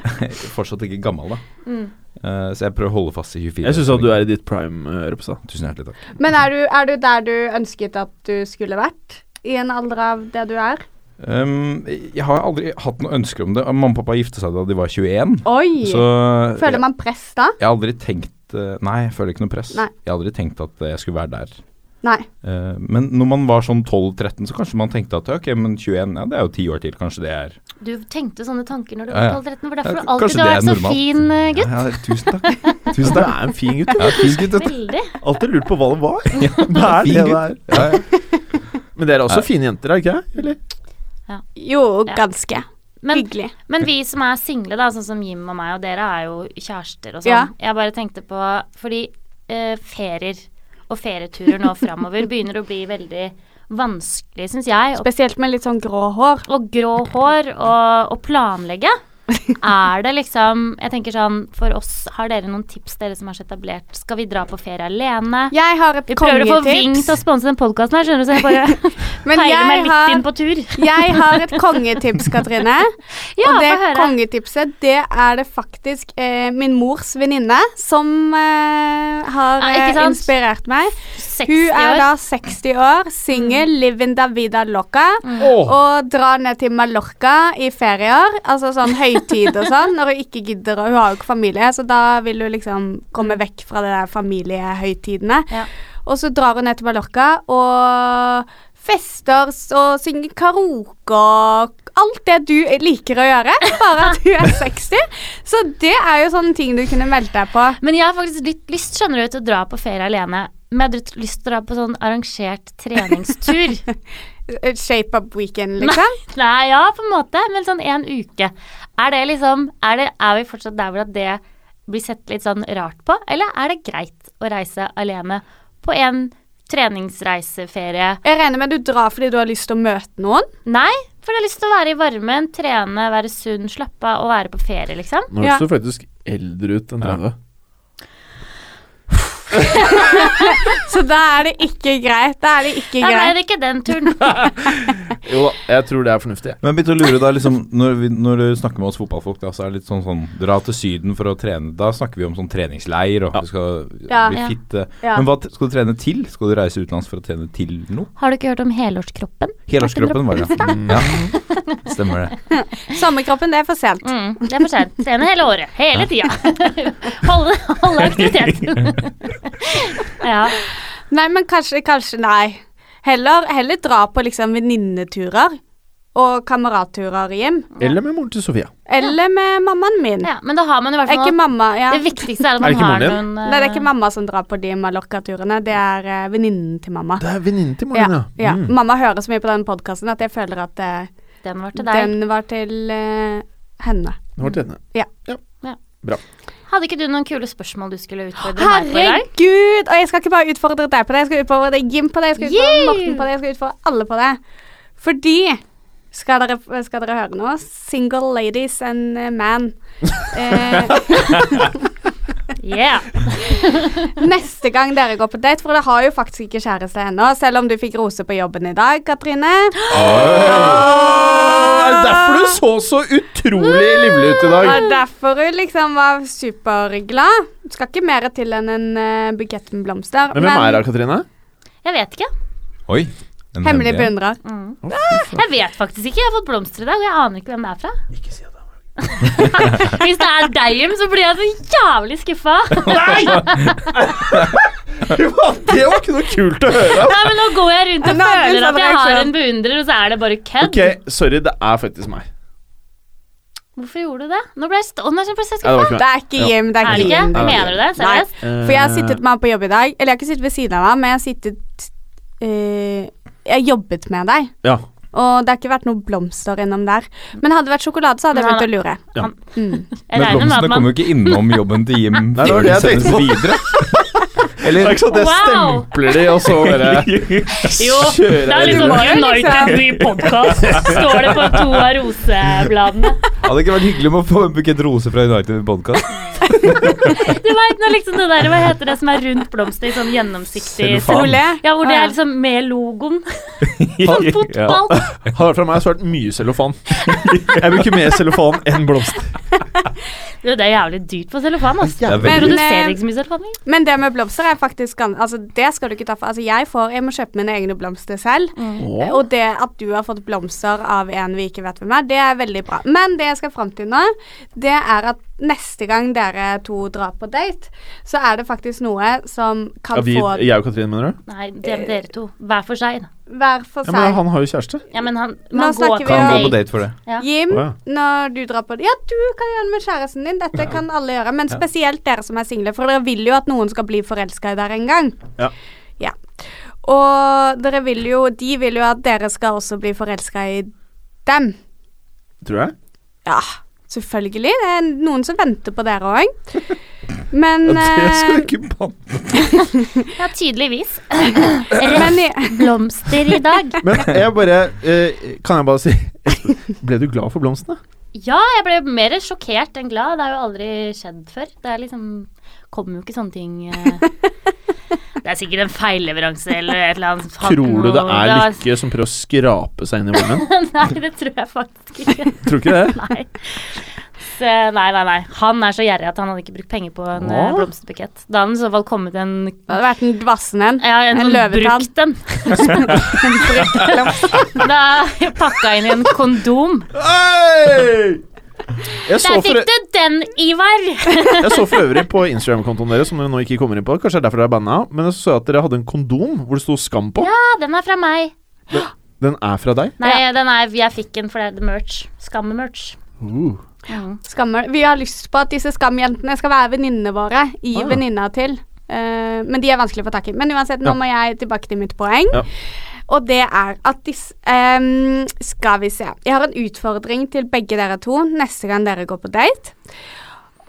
[SPEAKER 4] fortsatt ikke gammel, da.
[SPEAKER 2] Mm.
[SPEAKER 4] Eh, så jeg prøver å holde fast i 24.
[SPEAKER 3] Jeg syns du er i ditt prime, eh, Ropstad.
[SPEAKER 4] Tusen hjertelig takk.
[SPEAKER 1] Men er du, er du der du ønsket at du skulle vært? I en alder av det du er?
[SPEAKER 4] Um, jeg har aldri hatt noe ønsker om det. Mamma og pappa gifta seg da de var 21.
[SPEAKER 1] Oi!
[SPEAKER 4] Så
[SPEAKER 1] Føler man press da?
[SPEAKER 4] jeg, jeg har aldri tenkt eh, Nei, jeg føler ikke noe press.
[SPEAKER 1] Nei.
[SPEAKER 4] Jeg har aldri tenkt at eh, jeg skulle være der.
[SPEAKER 1] Nei.
[SPEAKER 4] Eh, men når man var sånn 12-13, så kanskje man tenkte at ok, men 21, ja det er jo ti år til, kanskje det er
[SPEAKER 2] Du tenkte sånne tanker når du
[SPEAKER 4] Ja,
[SPEAKER 2] var
[SPEAKER 4] ja.
[SPEAKER 2] 12-13, for derfor har
[SPEAKER 4] Ja,
[SPEAKER 2] du alltid
[SPEAKER 4] kanskje det
[SPEAKER 2] vært
[SPEAKER 4] er
[SPEAKER 2] så
[SPEAKER 4] normalt.
[SPEAKER 2] fin eh, gutt.
[SPEAKER 4] Ja, ja, tusen takk. Tusen
[SPEAKER 3] Du
[SPEAKER 4] takk.
[SPEAKER 3] er en fin gutt.
[SPEAKER 4] Ja, fin gutt, dette.
[SPEAKER 2] Veldig.
[SPEAKER 3] Alltid lurt på hva det var.
[SPEAKER 4] Ja,
[SPEAKER 3] det
[SPEAKER 4] fin
[SPEAKER 3] er det
[SPEAKER 4] gutt. Ja, ja.
[SPEAKER 3] Men dere er også fine jenter, er dere ikke det?
[SPEAKER 1] Jo,
[SPEAKER 2] Ja.
[SPEAKER 1] ganske.
[SPEAKER 2] Men,
[SPEAKER 1] Hyggelig.
[SPEAKER 2] men vi som er single, da, sånn som Jim og meg, og dere er jo kjærester og sånn.
[SPEAKER 1] Ja.
[SPEAKER 2] Jeg bare tenkte på Fordi eh, ferier og ferieturer nå framover begynner å bli veldig vanskelig, syns jeg. Og,
[SPEAKER 1] Spesielt med litt sånn grå hår.
[SPEAKER 2] og grå hår og å planlegge. Er det liksom Jeg tenker sånn For oss, har dere noen tips, dere som er så etablert? Skal vi dra på ferie alene?
[SPEAKER 1] Jeg har et
[SPEAKER 2] Vi prøver å få Ving til å
[SPEAKER 1] kongetips.
[SPEAKER 2] sponse den podkasten her, skjønner du, så jeg bare
[SPEAKER 1] Men
[SPEAKER 2] peiler meg
[SPEAKER 1] jeg
[SPEAKER 2] litt
[SPEAKER 1] har,
[SPEAKER 2] inn på tur.
[SPEAKER 1] jeg har et kongetips, Katrine.
[SPEAKER 2] Ja,
[SPEAKER 1] og det
[SPEAKER 2] få høre.
[SPEAKER 1] kongetipset, det er det faktisk eh, min mors venninne som eh, har
[SPEAKER 2] Ja, ikke
[SPEAKER 1] eh,
[SPEAKER 2] sant?
[SPEAKER 1] inspirert meg.
[SPEAKER 2] 60
[SPEAKER 1] Hun er
[SPEAKER 2] år. Mm.
[SPEAKER 1] da 60 år, singel, living da vida loca. Og drar ned til Mallorca i ferier, altså sånn høytid og sånn, når hun ikke gidder, og hun har jo ikke familie, så da vil hun liksom komme vekk fra de der familiehøytidene.
[SPEAKER 2] Ja.
[SPEAKER 1] Og så drar hun ned til Mallorca og fester s- og synger karaoke og alt det du liker å gjøre, bare at du er 60. Så det er jo sånne ting du kunne meldt deg på.
[SPEAKER 2] Men jeg har faktisk litt lyst skjønner du, til å dra på ferie alene. Men jeg hadde litt lyst til å dra på sånn arrangert treningstur.
[SPEAKER 1] Eh, Shape up weekend, liksom.
[SPEAKER 2] Nei, ja, på en måte, men sånn en uke. Er det liksom Er, det, er vi fortsatt der hvor at det blir sett litt sånn rart på? Eller er det greit å reise alene på en treningsreiseferie?
[SPEAKER 1] Jeg regner med du drar fordi du har lyst til å møte noen.
[SPEAKER 2] Nei, for jeg har lyst til å være i varmen, trene, være sunn, slappe av og være på ferie, liksom.
[SPEAKER 3] Nå
[SPEAKER 1] Ja.
[SPEAKER 3] høres du faktisk eldre ut enn
[SPEAKER 4] Ja.
[SPEAKER 3] 30.
[SPEAKER 1] Så da er det ikke greit. Da er det ikke
[SPEAKER 2] Da ble
[SPEAKER 1] greit.
[SPEAKER 2] det ikke den turen.
[SPEAKER 3] Jo da, jeg tror det er fornuftig.
[SPEAKER 4] Men jeg begynte å lure da, liksom, når, vi, når du snakker med oss fotballfolk, da, så er det litt sånn sånn Dra til Syden for å trene. Da snakker vi om sånn treningsleir og
[SPEAKER 3] Ja.
[SPEAKER 4] du skal
[SPEAKER 1] Ja.
[SPEAKER 4] bli
[SPEAKER 2] Ja.
[SPEAKER 4] fitt. eh.
[SPEAKER 1] Ja.
[SPEAKER 4] Men hva t- skal du trene til? Skal du reise utenlands for å trene til noe?
[SPEAKER 2] Har du ikke hørt om helårskroppen?
[SPEAKER 4] Helårskroppen var det. Ja. Stemmer det.
[SPEAKER 1] Sommerkroppen, det er for sent.
[SPEAKER 2] Mm, det er for sent. Trene hele året. Hele tida. Holde, holde aktiviteten. ja.
[SPEAKER 1] Nei, men kanskje, kanskje nei. Heller, heller dra på liksom venninneturer og kameratturer hjem.
[SPEAKER 3] Eller med moren til Sofia.
[SPEAKER 1] Eller med mammaen min.
[SPEAKER 2] ja. Men da har man i hvert
[SPEAKER 1] Er ikke
[SPEAKER 2] fall noe.
[SPEAKER 1] mamma ja.
[SPEAKER 2] Det viktigste er at
[SPEAKER 3] Er
[SPEAKER 2] man
[SPEAKER 3] det ikke
[SPEAKER 2] har
[SPEAKER 3] moren
[SPEAKER 2] noen eh,
[SPEAKER 1] Nei, det er ikke mamma som drar på de Mallorca-turene. Det er eh, venninnen til mamma.
[SPEAKER 3] Det er venninnen til moren,
[SPEAKER 1] Ja,
[SPEAKER 3] ja.
[SPEAKER 1] ja.
[SPEAKER 3] Mm.
[SPEAKER 1] Mamma hører så mye på den podkasten at jeg føler at eh,
[SPEAKER 2] eh, Den var til deg.
[SPEAKER 1] den var til eh, henne.
[SPEAKER 3] Nå var det tredje.
[SPEAKER 1] Ja.
[SPEAKER 2] Ja.
[SPEAKER 3] Bra.
[SPEAKER 2] Hadde ikke du noen kule spørsmål du skulle utfordre meg på i dag?
[SPEAKER 1] Herregud! Og jeg skal ikke bare utfordre deg på det, jeg skal utfordre deg Jim på det, jeg skal utfordre
[SPEAKER 2] Yeah!
[SPEAKER 1] Morten på det, jeg skal utfordre alle på det. Fordi skal dere, skal dere høre nå? Single ladies and eh, man. Eh,
[SPEAKER 2] Yeah.
[SPEAKER 1] neste gang dere går på date, for dere har jo faktisk ikke kjæreste ennå, selv om du fikk rose på jobben i dag, Katrine.
[SPEAKER 4] Ah!
[SPEAKER 3] Ah, Er det derfor du så så utrolig
[SPEAKER 1] Mm.
[SPEAKER 3] livlig ut i dag?
[SPEAKER 1] Og derfor hun liksom var superglad. Du skal ikke mer til enn en eh, bukett med blomster.
[SPEAKER 3] Men hvem er det, Katrine?
[SPEAKER 2] Jeg vet ikke.
[SPEAKER 4] Oi. en
[SPEAKER 1] Hemmelig
[SPEAKER 4] hemmelig en.
[SPEAKER 1] beundrer.
[SPEAKER 2] Mm.
[SPEAKER 3] Å, fy faen.
[SPEAKER 2] Jeg vet faktisk ikke. Jeg har fått blomster i dag, og jeg aner ikke hvem det er fra. Hvis det er deg, Jim, så blir jeg så jævlig skuffa.
[SPEAKER 3] Det var ikke noe kult å høre.
[SPEAKER 2] Nei, men nå går jeg rundt og
[SPEAKER 1] Nei, det er sånn
[SPEAKER 2] føler at jeg har
[SPEAKER 1] reaksjon.
[SPEAKER 2] en beundrer, og så er det bare kødd.
[SPEAKER 3] Ok, sorry, det er faktisk meg.
[SPEAKER 2] Hvorfor gjorde du det? Nå ble jeg stå... Nå ble jeg
[SPEAKER 3] Nei, det
[SPEAKER 2] skuffa.
[SPEAKER 3] var ikke
[SPEAKER 1] Det
[SPEAKER 3] meg.
[SPEAKER 1] er ikke Jim, det er
[SPEAKER 2] Er
[SPEAKER 1] ikke
[SPEAKER 2] det ikke?
[SPEAKER 1] Jim.
[SPEAKER 3] Nei. eh,
[SPEAKER 2] Mener du det? Seriøst?
[SPEAKER 1] For jeg har sittet med han på jobb i dag. Eller jeg har ikke sittet ved siden av han, men jeg har sittet eh, Jeg har jobbet med deg.
[SPEAKER 3] Ja.
[SPEAKER 1] Og det har ikke vært noe blomster innom der. Men hadde det vært sjokolade, så hadde jeg
[SPEAKER 2] Men
[SPEAKER 1] begynt å lure.
[SPEAKER 3] Ja.
[SPEAKER 1] Mm.
[SPEAKER 2] Jeg regner med
[SPEAKER 4] Men
[SPEAKER 2] at
[SPEAKER 4] blomstene
[SPEAKER 2] man
[SPEAKER 4] kommer jo ikke innom jobben til Jim
[SPEAKER 3] det var
[SPEAKER 4] før de
[SPEAKER 3] det jeg
[SPEAKER 4] sendes
[SPEAKER 3] tenkte på.
[SPEAKER 4] videre.
[SPEAKER 3] Det er
[SPEAKER 4] Eller
[SPEAKER 3] ikke sånn at jeg
[SPEAKER 2] Wow!
[SPEAKER 3] stempler de, og så bare
[SPEAKER 2] Jo,
[SPEAKER 3] Kjører
[SPEAKER 2] det er
[SPEAKER 4] liksom
[SPEAKER 2] litt
[SPEAKER 1] videre.
[SPEAKER 2] sånn United We Podcast. Står det på to av rosebladene.
[SPEAKER 4] hadde det ikke vært hyggelig med å få en bukett roser fra United Podcast?
[SPEAKER 2] Du vet nå liksom det der, hva heter det som er rundt blomster i sånn gjennomsiktig
[SPEAKER 4] Cellofan.
[SPEAKER 1] Ole?
[SPEAKER 2] Ja, hvor det
[SPEAKER 1] Å, ja.
[SPEAKER 2] er liksom med logoen. Sånn fotball.
[SPEAKER 3] Hadde det vært fra meg, så hadde det vært mye cellofan. Jeg bruker mer cellofan enn blomster.
[SPEAKER 2] Du, det er jævlig dyrt på cellofan, altså.
[SPEAKER 4] Det er
[SPEAKER 1] Men,
[SPEAKER 2] Vi
[SPEAKER 4] veldig,
[SPEAKER 2] produserer
[SPEAKER 1] eh,
[SPEAKER 2] ikke så mye cellofan. vi.
[SPEAKER 1] Men det med blomster er faktisk gans- Altså, det skal du ikke ta for Altså, jeg får Jeg må kjøpe mine egne blomster selv.
[SPEAKER 3] Åh.
[SPEAKER 1] Og det at du har fått blomster av en vi ikke vet hvem er, det er veldig bra. Men det jeg skal fram til nå, det er at neste gang dere to drar på date, så er det faktisk noe som kan
[SPEAKER 3] Ja, vi,
[SPEAKER 1] få
[SPEAKER 3] jeg og Katrine, mener du?
[SPEAKER 2] Nei, det er dere to. Hver for seg. da.
[SPEAKER 1] hver for
[SPEAKER 3] Ja, men
[SPEAKER 1] seg.
[SPEAKER 3] Han har jo kjæreste.
[SPEAKER 2] Ja, men han,
[SPEAKER 1] Nå
[SPEAKER 2] man
[SPEAKER 1] snakker
[SPEAKER 2] går
[SPEAKER 1] vi
[SPEAKER 4] kan
[SPEAKER 1] om-
[SPEAKER 4] gå på date for det.
[SPEAKER 2] Ja.
[SPEAKER 1] Jim,
[SPEAKER 3] Å, ja.
[SPEAKER 1] når du drar på Ja, du kan gjøre det med kjæresten din. Dette kan alle gjøre. Men spesielt dere som er single, for dere vil jo at noen skal bli forelska i dere en gang.
[SPEAKER 3] Ja.
[SPEAKER 1] Ja. Og dere vil jo De vil jo at dere skal også bli forelska i dem.
[SPEAKER 3] Tror jeg.
[SPEAKER 1] Ja, selvfølgelig. Det er noen som venter på dere òg. Men
[SPEAKER 3] Ja, det skal
[SPEAKER 1] eh,
[SPEAKER 3] du ikke banne.
[SPEAKER 2] Ja, tydeligvis.
[SPEAKER 1] men, i-
[SPEAKER 2] Blomster i dag.
[SPEAKER 3] Men jeg bare eh, Kan jeg bare si Ble du glad for blomstene?
[SPEAKER 2] Ja, jeg ble mer sjokkert enn glad. Det har jo aldri skjedd før. Det er liksom Kommer jo ikke sånne ting eh. Det er sikkert en feilleveranse eller et eller annet.
[SPEAKER 3] Tror du det er
[SPEAKER 2] var-
[SPEAKER 3] Lykke som prøver å skrape seg inn i varmen?
[SPEAKER 2] Nei, det tror jeg faktisk ikke.
[SPEAKER 3] Tror ikke det.
[SPEAKER 2] Nei. Så, nei, nei, nei. Han er så gjerrig at han hadde ikke brukt penger på en eh,
[SPEAKER 3] Hva?
[SPEAKER 2] blomsterbukett. Da hadde han i så fall kommet en
[SPEAKER 1] det hadde vært en dvassen en.
[SPEAKER 2] ja,
[SPEAKER 1] En
[SPEAKER 2] en, sånn
[SPEAKER 1] løvetann.
[SPEAKER 2] Brukt en. Da jeg pakka inn i en kondom.
[SPEAKER 3] Jeg så,
[SPEAKER 2] Der
[SPEAKER 3] for,
[SPEAKER 2] fikk du den, Ivar!
[SPEAKER 3] jeg så for øvrig på Instagram-kontoen deres, som dere nå ikke kommer inn på. Kanskje det er derfor dere er banna, men jeg så at dere hadde en kondom hvor det sto 'skam' på.
[SPEAKER 2] Ja, den er fra meg.
[SPEAKER 3] Den er fra deg.
[SPEAKER 2] Nei, den er, jeg fikk den for det er merch. Skamme-merch.
[SPEAKER 1] Skammer. Vi har lyst på at disse skamjentene skal være venninnene våre. I
[SPEAKER 3] Ah, ja.
[SPEAKER 1] venninna til. Eh, men de er vanskelig å få tak i. Men uansett, nå
[SPEAKER 3] Ja.
[SPEAKER 1] må jeg tilbake til mitt poeng.
[SPEAKER 3] Ja.
[SPEAKER 1] Og det er at disse ehm, Skal vi se. Jeg har en utfordring til begge dere to neste gang dere går på date.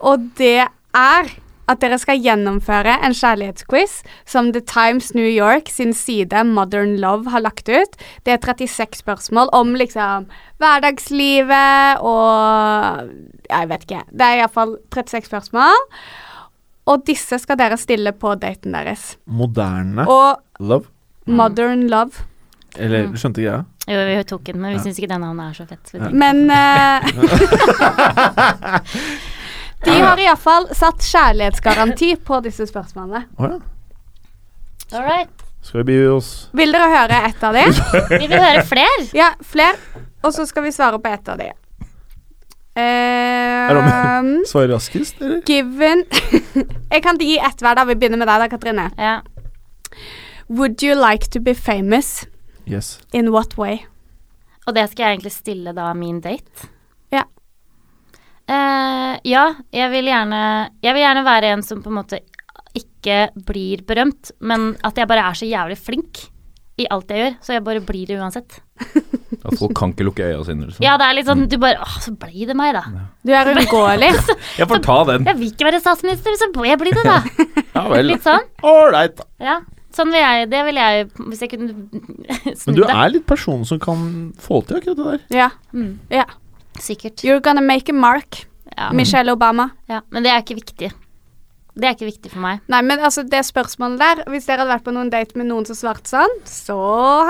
[SPEAKER 1] Og det er at dere skal gjennomføre en kjærlighetsquiz som The Times New York sin side Modern Love har lagt ut. Det er 36 spørsmål om liksom hverdagslivet og Jeg vet ikke. Det er iallfall 36 spørsmål. Og disse skal dere stille på daten deres.
[SPEAKER 3] Moderne
[SPEAKER 1] Og Mm.
[SPEAKER 3] love.
[SPEAKER 1] Modern Love.
[SPEAKER 3] Eller du skjønte greia?
[SPEAKER 2] Jo, vi tok den, men vi syns ikke det navnet er så fett. så vi tenkte-
[SPEAKER 1] Men eh, De har iallfall satt kjærlighetsgaranti på disse spørsmålene.
[SPEAKER 3] Å ja.
[SPEAKER 2] All right.
[SPEAKER 3] Skal vi by oss
[SPEAKER 1] Vil dere høre et av de?
[SPEAKER 2] Vi vil høre flere.
[SPEAKER 1] Ja, flere. Og så skal vi svare på et av de. Eh,
[SPEAKER 3] Er det
[SPEAKER 1] Um.
[SPEAKER 3] om- svare raskest, eller?
[SPEAKER 1] given Jeg kan gi ett hver, da. Vi begynner med deg, da, Katrine.
[SPEAKER 2] Ja.
[SPEAKER 1] Would you like to be famous?
[SPEAKER 3] Yes.
[SPEAKER 1] In what way?
[SPEAKER 2] Og det skal jeg egentlig stille da min date.
[SPEAKER 1] Ja.
[SPEAKER 2] Eh, ja, jeg vil gjerne Jeg vil gjerne være en som på en måte ikke blir berømt, men at jeg bare er så jævlig flink i alt jeg gjør, så jeg bare blir det uansett.
[SPEAKER 4] At folk kan ikke lukke øya sine. Liksom.
[SPEAKER 2] Ja, det er litt sånn Du bare Åh, så blir det meg, da.
[SPEAKER 1] Du er uunngåelig.
[SPEAKER 4] Jeg får ta den.
[SPEAKER 2] Jeg vil ikke være statsminister, så må jeg bli det, da.
[SPEAKER 4] Ja vel.
[SPEAKER 2] Litt sånn.
[SPEAKER 3] Ålreit.
[SPEAKER 2] Ja. Sånn vil jeg Det vil jeg Hvis jeg kunne
[SPEAKER 3] Men
[SPEAKER 2] snudd
[SPEAKER 3] du
[SPEAKER 2] det.
[SPEAKER 3] er litt personen som kan få til akkurat det der.
[SPEAKER 1] Ja.
[SPEAKER 2] Mm.
[SPEAKER 1] ja.
[SPEAKER 2] Sikkert.
[SPEAKER 1] You're gonna make a mark.
[SPEAKER 2] Ja.
[SPEAKER 3] Mm.
[SPEAKER 1] Michelle Obama.
[SPEAKER 2] ja. Men det er ikke viktig. Det er ikke viktig for meg.
[SPEAKER 1] Nei, men altså, det spørsmålet der Hvis dere hadde vært på noen date med noen som svarte sånn, så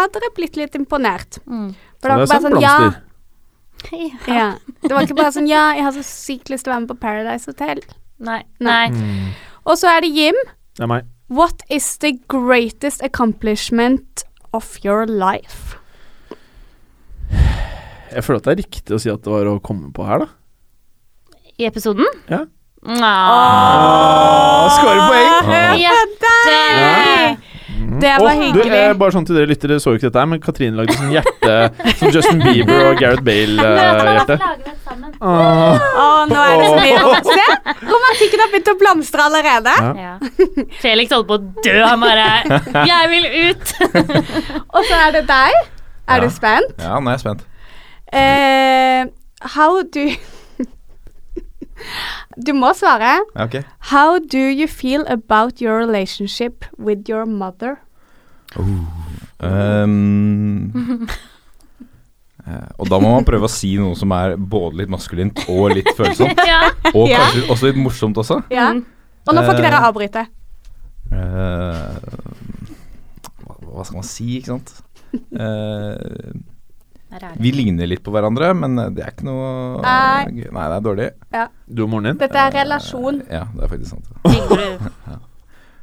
[SPEAKER 1] hadde dere blitt litt imponert.
[SPEAKER 2] Mm.
[SPEAKER 1] For det var
[SPEAKER 3] Det
[SPEAKER 1] ikke
[SPEAKER 3] er
[SPEAKER 1] bare
[SPEAKER 3] sånn
[SPEAKER 1] sånn ja,
[SPEAKER 3] blomster.
[SPEAKER 1] ja. Det var ikke bare sånn ja, jeg har så sykt lyst til å være med på Paradise Hotel.
[SPEAKER 2] Nei.
[SPEAKER 1] Nei.
[SPEAKER 2] Nei.
[SPEAKER 3] Mm.
[SPEAKER 1] Og så er det Jim.
[SPEAKER 3] Det er meg.
[SPEAKER 1] What is the greatest accomplishment of your life?
[SPEAKER 3] Jeg føler at det er riktig å si at det var å komme på her, da.
[SPEAKER 2] I episoden?
[SPEAKER 3] Ja.
[SPEAKER 2] Åh.
[SPEAKER 3] Skåre poeng!
[SPEAKER 1] Hør på
[SPEAKER 2] Ja.
[SPEAKER 1] deg! Det var
[SPEAKER 3] Åh, Du, eh,
[SPEAKER 1] hyggelig.
[SPEAKER 3] bare sånn til dere lyttere så jo ikke dette her, men Katrine lagde sånn hjerte Som Justin Bieber og Gareth eh, Bale-hjerte.
[SPEAKER 1] Å, nå er det så mye romant- Se, Romantikken har begynt å blomstre allerede.
[SPEAKER 3] Ja.
[SPEAKER 2] Ja. Felix holdt på å dø. Han bare 'Jeg vil ut'.
[SPEAKER 1] Og så er det deg. Er
[SPEAKER 4] Ja.
[SPEAKER 1] du spent?
[SPEAKER 4] Ja, nå er jeg spent.
[SPEAKER 1] Eh, how do Du må svare.
[SPEAKER 4] Ja, ok.
[SPEAKER 1] How do you feel about your relationship with your mother?
[SPEAKER 4] Ehm, eh, og da må man prøve å si noe som er både litt maskulint og litt følsomt.
[SPEAKER 2] Ja.
[SPEAKER 4] Og
[SPEAKER 1] Ja.
[SPEAKER 4] kanskje også litt morsomt også.
[SPEAKER 1] Ja.
[SPEAKER 2] Mm.
[SPEAKER 1] Og nå får ikke
[SPEAKER 4] Eh.
[SPEAKER 1] dere avbryte.
[SPEAKER 4] Eh, hva, hva skal man si, ikke sant? Eh,
[SPEAKER 2] Der er det.
[SPEAKER 4] vi ligner litt på hverandre, men det er ikke noe
[SPEAKER 1] Nei.
[SPEAKER 4] gøy. Nei, det er dårlig.
[SPEAKER 3] Du og moren din?
[SPEAKER 1] Dette er relasjon.
[SPEAKER 4] Ja, det er faktisk sant.
[SPEAKER 2] Digger du?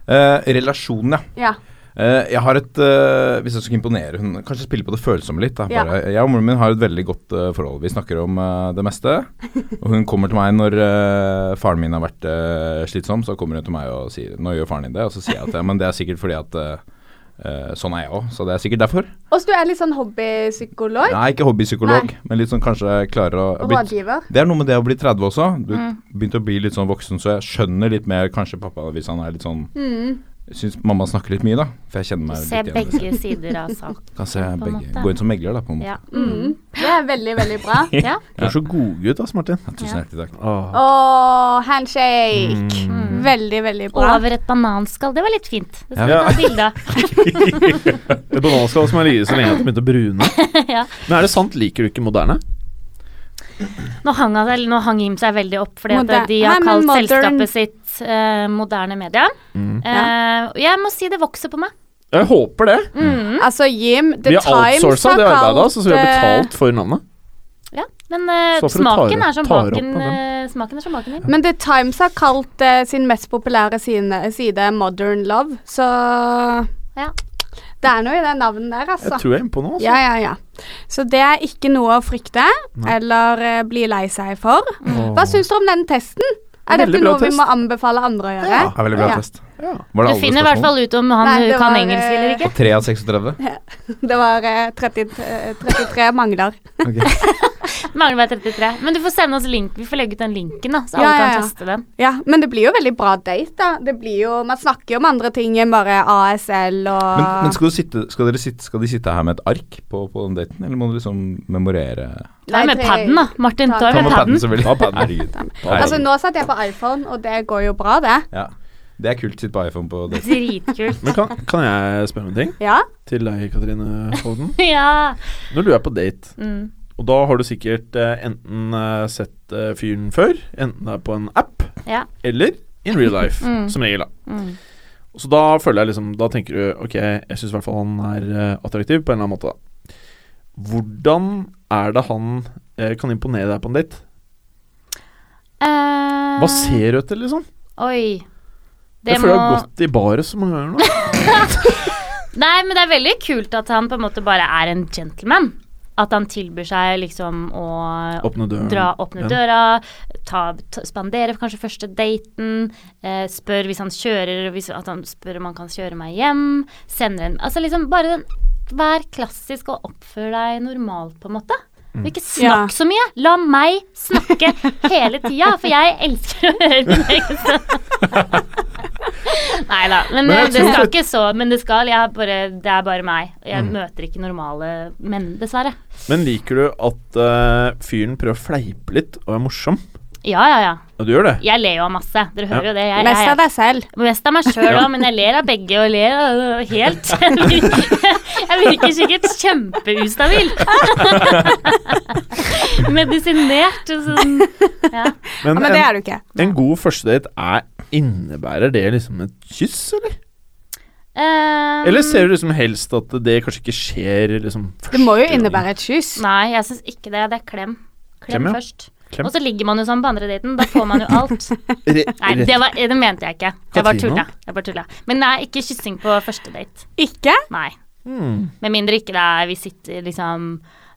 [SPEAKER 4] Eh, relasjonen, ja.
[SPEAKER 1] Ja.
[SPEAKER 4] Eh, jeg har et eh, Hvis jeg skulle imponere hun Kanskje spille på det følsomme litt. Da.
[SPEAKER 1] Ja.
[SPEAKER 4] Bare, eh, jeg og moren min har et veldig godt eh, forhold. Vi snakker om eh, det meste. Og hun kommer til meg når eh, faren min har vært eh, slitsom, så kommer hun til meg og sier Nå gjør faren din det. Og så sier jeg at ja, men det er sikkert fordi at eh, eh, sånn er jeg òg, så det er sikkert derfor.
[SPEAKER 1] Og så du er litt sånn hobbypsykolog
[SPEAKER 4] Jeg er ikke hobbypsykolog, men litt sånn kanskje klarer å jeg
[SPEAKER 1] og
[SPEAKER 4] har blitt-
[SPEAKER 1] rådgiver.
[SPEAKER 4] Det er noe med det å bli 30 også. Du
[SPEAKER 2] Mm.
[SPEAKER 4] begynte å bli litt sånn voksen, så jeg skjønner litt mer kanskje pappa hvis han er litt sånn
[SPEAKER 1] Mm.
[SPEAKER 4] Syns mamma snakker litt mye, da. For jeg kjenner meg
[SPEAKER 2] Se
[SPEAKER 4] litt igjen.
[SPEAKER 2] begge sider av saken.
[SPEAKER 4] Kan se
[SPEAKER 2] en
[SPEAKER 4] begge.
[SPEAKER 2] måte.
[SPEAKER 4] Gå inn som megler, da. på en måte.
[SPEAKER 2] Ja.
[SPEAKER 1] Mm. Det er veldig, veldig bra.
[SPEAKER 2] ja.
[SPEAKER 3] Du er så godgutt, ass, Martin.
[SPEAKER 4] Ja, Tusen
[SPEAKER 2] Ja.
[SPEAKER 4] hjertelig takk.
[SPEAKER 3] Åh.
[SPEAKER 1] Åh, handshake.
[SPEAKER 2] Mm.
[SPEAKER 1] Veldig, veldig bra.
[SPEAKER 2] Over et bananskall. Det var litt fint. Det skal
[SPEAKER 3] Ja.
[SPEAKER 2] vi ta bilde av.
[SPEAKER 3] Det bananskall som har ligget så lenge at det begynte å brune.
[SPEAKER 2] Ja.
[SPEAKER 3] Men er det sant, liker du ikke moderne?
[SPEAKER 2] Nå hang, han, eller nå hang Jim seg veldig opp, fordi
[SPEAKER 1] Moder-
[SPEAKER 2] at de har
[SPEAKER 1] Nei, men
[SPEAKER 2] kalt
[SPEAKER 1] modern-
[SPEAKER 2] selskapet sitt eh, moderne media.
[SPEAKER 3] Mm.
[SPEAKER 2] Eh, jeg må si det vokser på meg. Mm.
[SPEAKER 3] Jeg håper det. Mm.
[SPEAKER 1] Altså, Jim, The
[SPEAKER 3] Vi har
[SPEAKER 1] Times
[SPEAKER 3] outsoursa det arbeidet, altså, så vi har
[SPEAKER 1] eh,
[SPEAKER 3] betalt for navnet.
[SPEAKER 2] Ja, Men eh,
[SPEAKER 3] Så får du
[SPEAKER 2] smaken,
[SPEAKER 3] ta-
[SPEAKER 2] er som
[SPEAKER 3] ta opp
[SPEAKER 2] baken,
[SPEAKER 3] av den.
[SPEAKER 2] eh, smaken er som baken din.
[SPEAKER 1] Men The Times har kalt eh, sin mest populære side, side Modern Love, så
[SPEAKER 2] Ja.
[SPEAKER 1] Det er noe i det navnet der, altså.
[SPEAKER 3] Jeg tror jeg er innpå nå. Altså.
[SPEAKER 1] Ja, ja, ja. Så det er ikke noe å frykte eller eh, bli lei seg for.
[SPEAKER 3] Åh.
[SPEAKER 1] Hva syns du om den testen? Er
[SPEAKER 3] Veldig
[SPEAKER 1] dette
[SPEAKER 3] bra
[SPEAKER 1] noe vi
[SPEAKER 3] test.
[SPEAKER 1] må anbefale andre å gjøre?
[SPEAKER 4] Ja, veldig bra
[SPEAKER 1] Ja.
[SPEAKER 4] test.
[SPEAKER 3] Ja.
[SPEAKER 4] Var
[SPEAKER 2] Du
[SPEAKER 4] det alle
[SPEAKER 2] finner i hvert fall ut om han
[SPEAKER 1] Nei, det
[SPEAKER 2] kan
[SPEAKER 1] var,
[SPEAKER 2] engelsk
[SPEAKER 1] eh,
[SPEAKER 2] eller ikke.
[SPEAKER 4] 3 av 36?
[SPEAKER 1] Det var eh, 30, eh, 33 mangler.
[SPEAKER 4] Ok.
[SPEAKER 2] Mangler bare 33. Men du får sende oss link. Vi får legge ut den linken, da, så
[SPEAKER 1] Ja,
[SPEAKER 2] alle
[SPEAKER 1] ja,
[SPEAKER 2] kan
[SPEAKER 1] ja.
[SPEAKER 2] teste den.
[SPEAKER 1] Ja, men det blir jo veldig bra date, da. Det blir jo, man snakker jo om andre ting enn bare ASL og
[SPEAKER 4] Men,
[SPEAKER 2] Ah.
[SPEAKER 4] men skal, du sitte, skal, dere sitte, skal de sitte her med et ark på, på den daten, eller må du liksom memorere
[SPEAKER 2] Ta med
[SPEAKER 1] det-
[SPEAKER 2] padden, da. Martin,
[SPEAKER 1] Ta-
[SPEAKER 2] ta
[SPEAKER 4] Ta
[SPEAKER 2] med
[SPEAKER 4] med padden,
[SPEAKER 2] padden.
[SPEAKER 4] selvfølgelig.
[SPEAKER 3] Ta padden.
[SPEAKER 4] Herregud.
[SPEAKER 1] Altså,
[SPEAKER 4] Herregud.
[SPEAKER 1] nå satt jeg på iPhone, og det går jo bra, det.
[SPEAKER 4] Ja. Det er kult. Sitt på iPhone på date.
[SPEAKER 2] Dritkult.
[SPEAKER 3] Men kan, kan jeg spørre om en ting
[SPEAKER 1] Ja.
[SPEAKER 3] til deg, Katrine Hovden?
[SPEAKER 2] Ja.
[SPEAKER 3] Nå lurer jeg på date,
[SPEAKER 2] Mm.
[SPEAKER 3] og da har du sikkert eh, enten eh, sett eh, fyren før, enten det er på en app,
[SPEAKER 2] Ja.
[SPEAKER 3] eller in real life,
[SPEAKER 2] Mm.
[SPEAKER 3] som regel. da.
[SPEAKER 2] Mm.
[SPEAKER 3] Så da føler jeg liksom Da tenker du ok, jeg syns i hvert fall han er eh, attraktiv på en eller annen måte, da. Hvordan er det han eh, kan imponere deg på en date?
[SPEAKER 2] Eh,
[SPEAKER 3] Hva ser du etter, liksom?
[SPEAKER 2] Oi. Mm. Det
[SPEAKER 3] Jeg føler jeg
[SPEAKER 2] må-
[SPEAKER 3] har gått i baret så mange ganger nå.
[SPEAKER 2] Nei, men det er veldig kult at han på en måte bare er en gentleman. At han tilbyr seg liksom å
[SPEAKER 3] Åpne døren.
[SPEAKER 2] dra, åpne
[SPEAKER 3] Mm. Ja.
[SPEAKER 2] døra, ta, ta, spandere kanskje første daten, eh, spør hvis han kjører, hvis, at han spør om han kan kjøre meg hjem, sender en Altså liksom bare den Vær klassisk og oppfør deg normalt, på en måte.
[SPEAKER 3] Mm.
[SPEAKER 2] Men Ikke
[SPEAKER 1] Ja.
[SPEAKER 2] snakk så mye! La meg snakke hele tida, for jeg elsker å høre min egen stemme. Nei da. Men,
[SPEAKER 3] Men
[SPEAKER 2] eh,
[SPEAKER 3] jeg
[SPEAKER 2] det skal
[SPEAKER 3] tror at- Mm.
[SPEAKER 2] ikke så Men det skal. Jeg bare, det er bare meg. Jeg møter ikke normale menn, dessverre.
[SPEAKER 3] Men liker du at eh, fyren prøver å fleipe litt og er morsom?
[SPEAKER 2] Ja, ja, ja.
[SPEAKER 3] Ja, du gjør det?
[SPEAKER 2] Jeg ler jo av masse. Dere hører
[SPEAKER 3] Ja.
[SPEAKER 2] jo det. Jeg, jeg,
[SPEAKER 1] Mest av deg selv.
[SPEAKER 2] Mest av meg sjøl òg, men jeg ler av begge og ler øh, helt. Jeg virker sikkert kjempeustabil. Medisinert og sånn. Ja.
[SPEAKER 1] Ja, men det er du ikke.
[SPEAKER 3] En god førstedate er Innebærer det liksom et kyss, eller?
[SPEAKER 2] Um,
[SPEAKER 1] Mm.
[SPEAKER 3] Eller ser du liksom helst at det kanskje ikke skjer liksom første
[SPEAKER 1] Det må jo
[SPEAKER 3] gangen?
[SPEAKER 1] innebære et kyss.
[SPEAKER 2] Nei, jeg syns ikke det. Det er klem. Klem,
[SPEAKER 3] Klem, ja.
[SPEAKER 2] først.
[SPEAKER 3] Klem.
[SPEAKER 2] Og så ligger man jo sånn på andre daten. Da får man jo alt.
[SPEAKER 3] Re
[SPEAKER 2] Nei,
[SPEAKER 3] rett-
[SPEAKER 2] det, var, det mente jeg ikke. Jeg bare
[SPEAKER 3] Katrine?
[SPEAKER 2] tulla. Jeg bare tulla. Men nei, ikke kyssing på første date.
[SPEAKER 1] Ikke?
[SPEAKER 2] Nei.
[SPEAKER 3] Hmm.
[SPEAKER 2] Med mindre ikke det er vi sitter liksom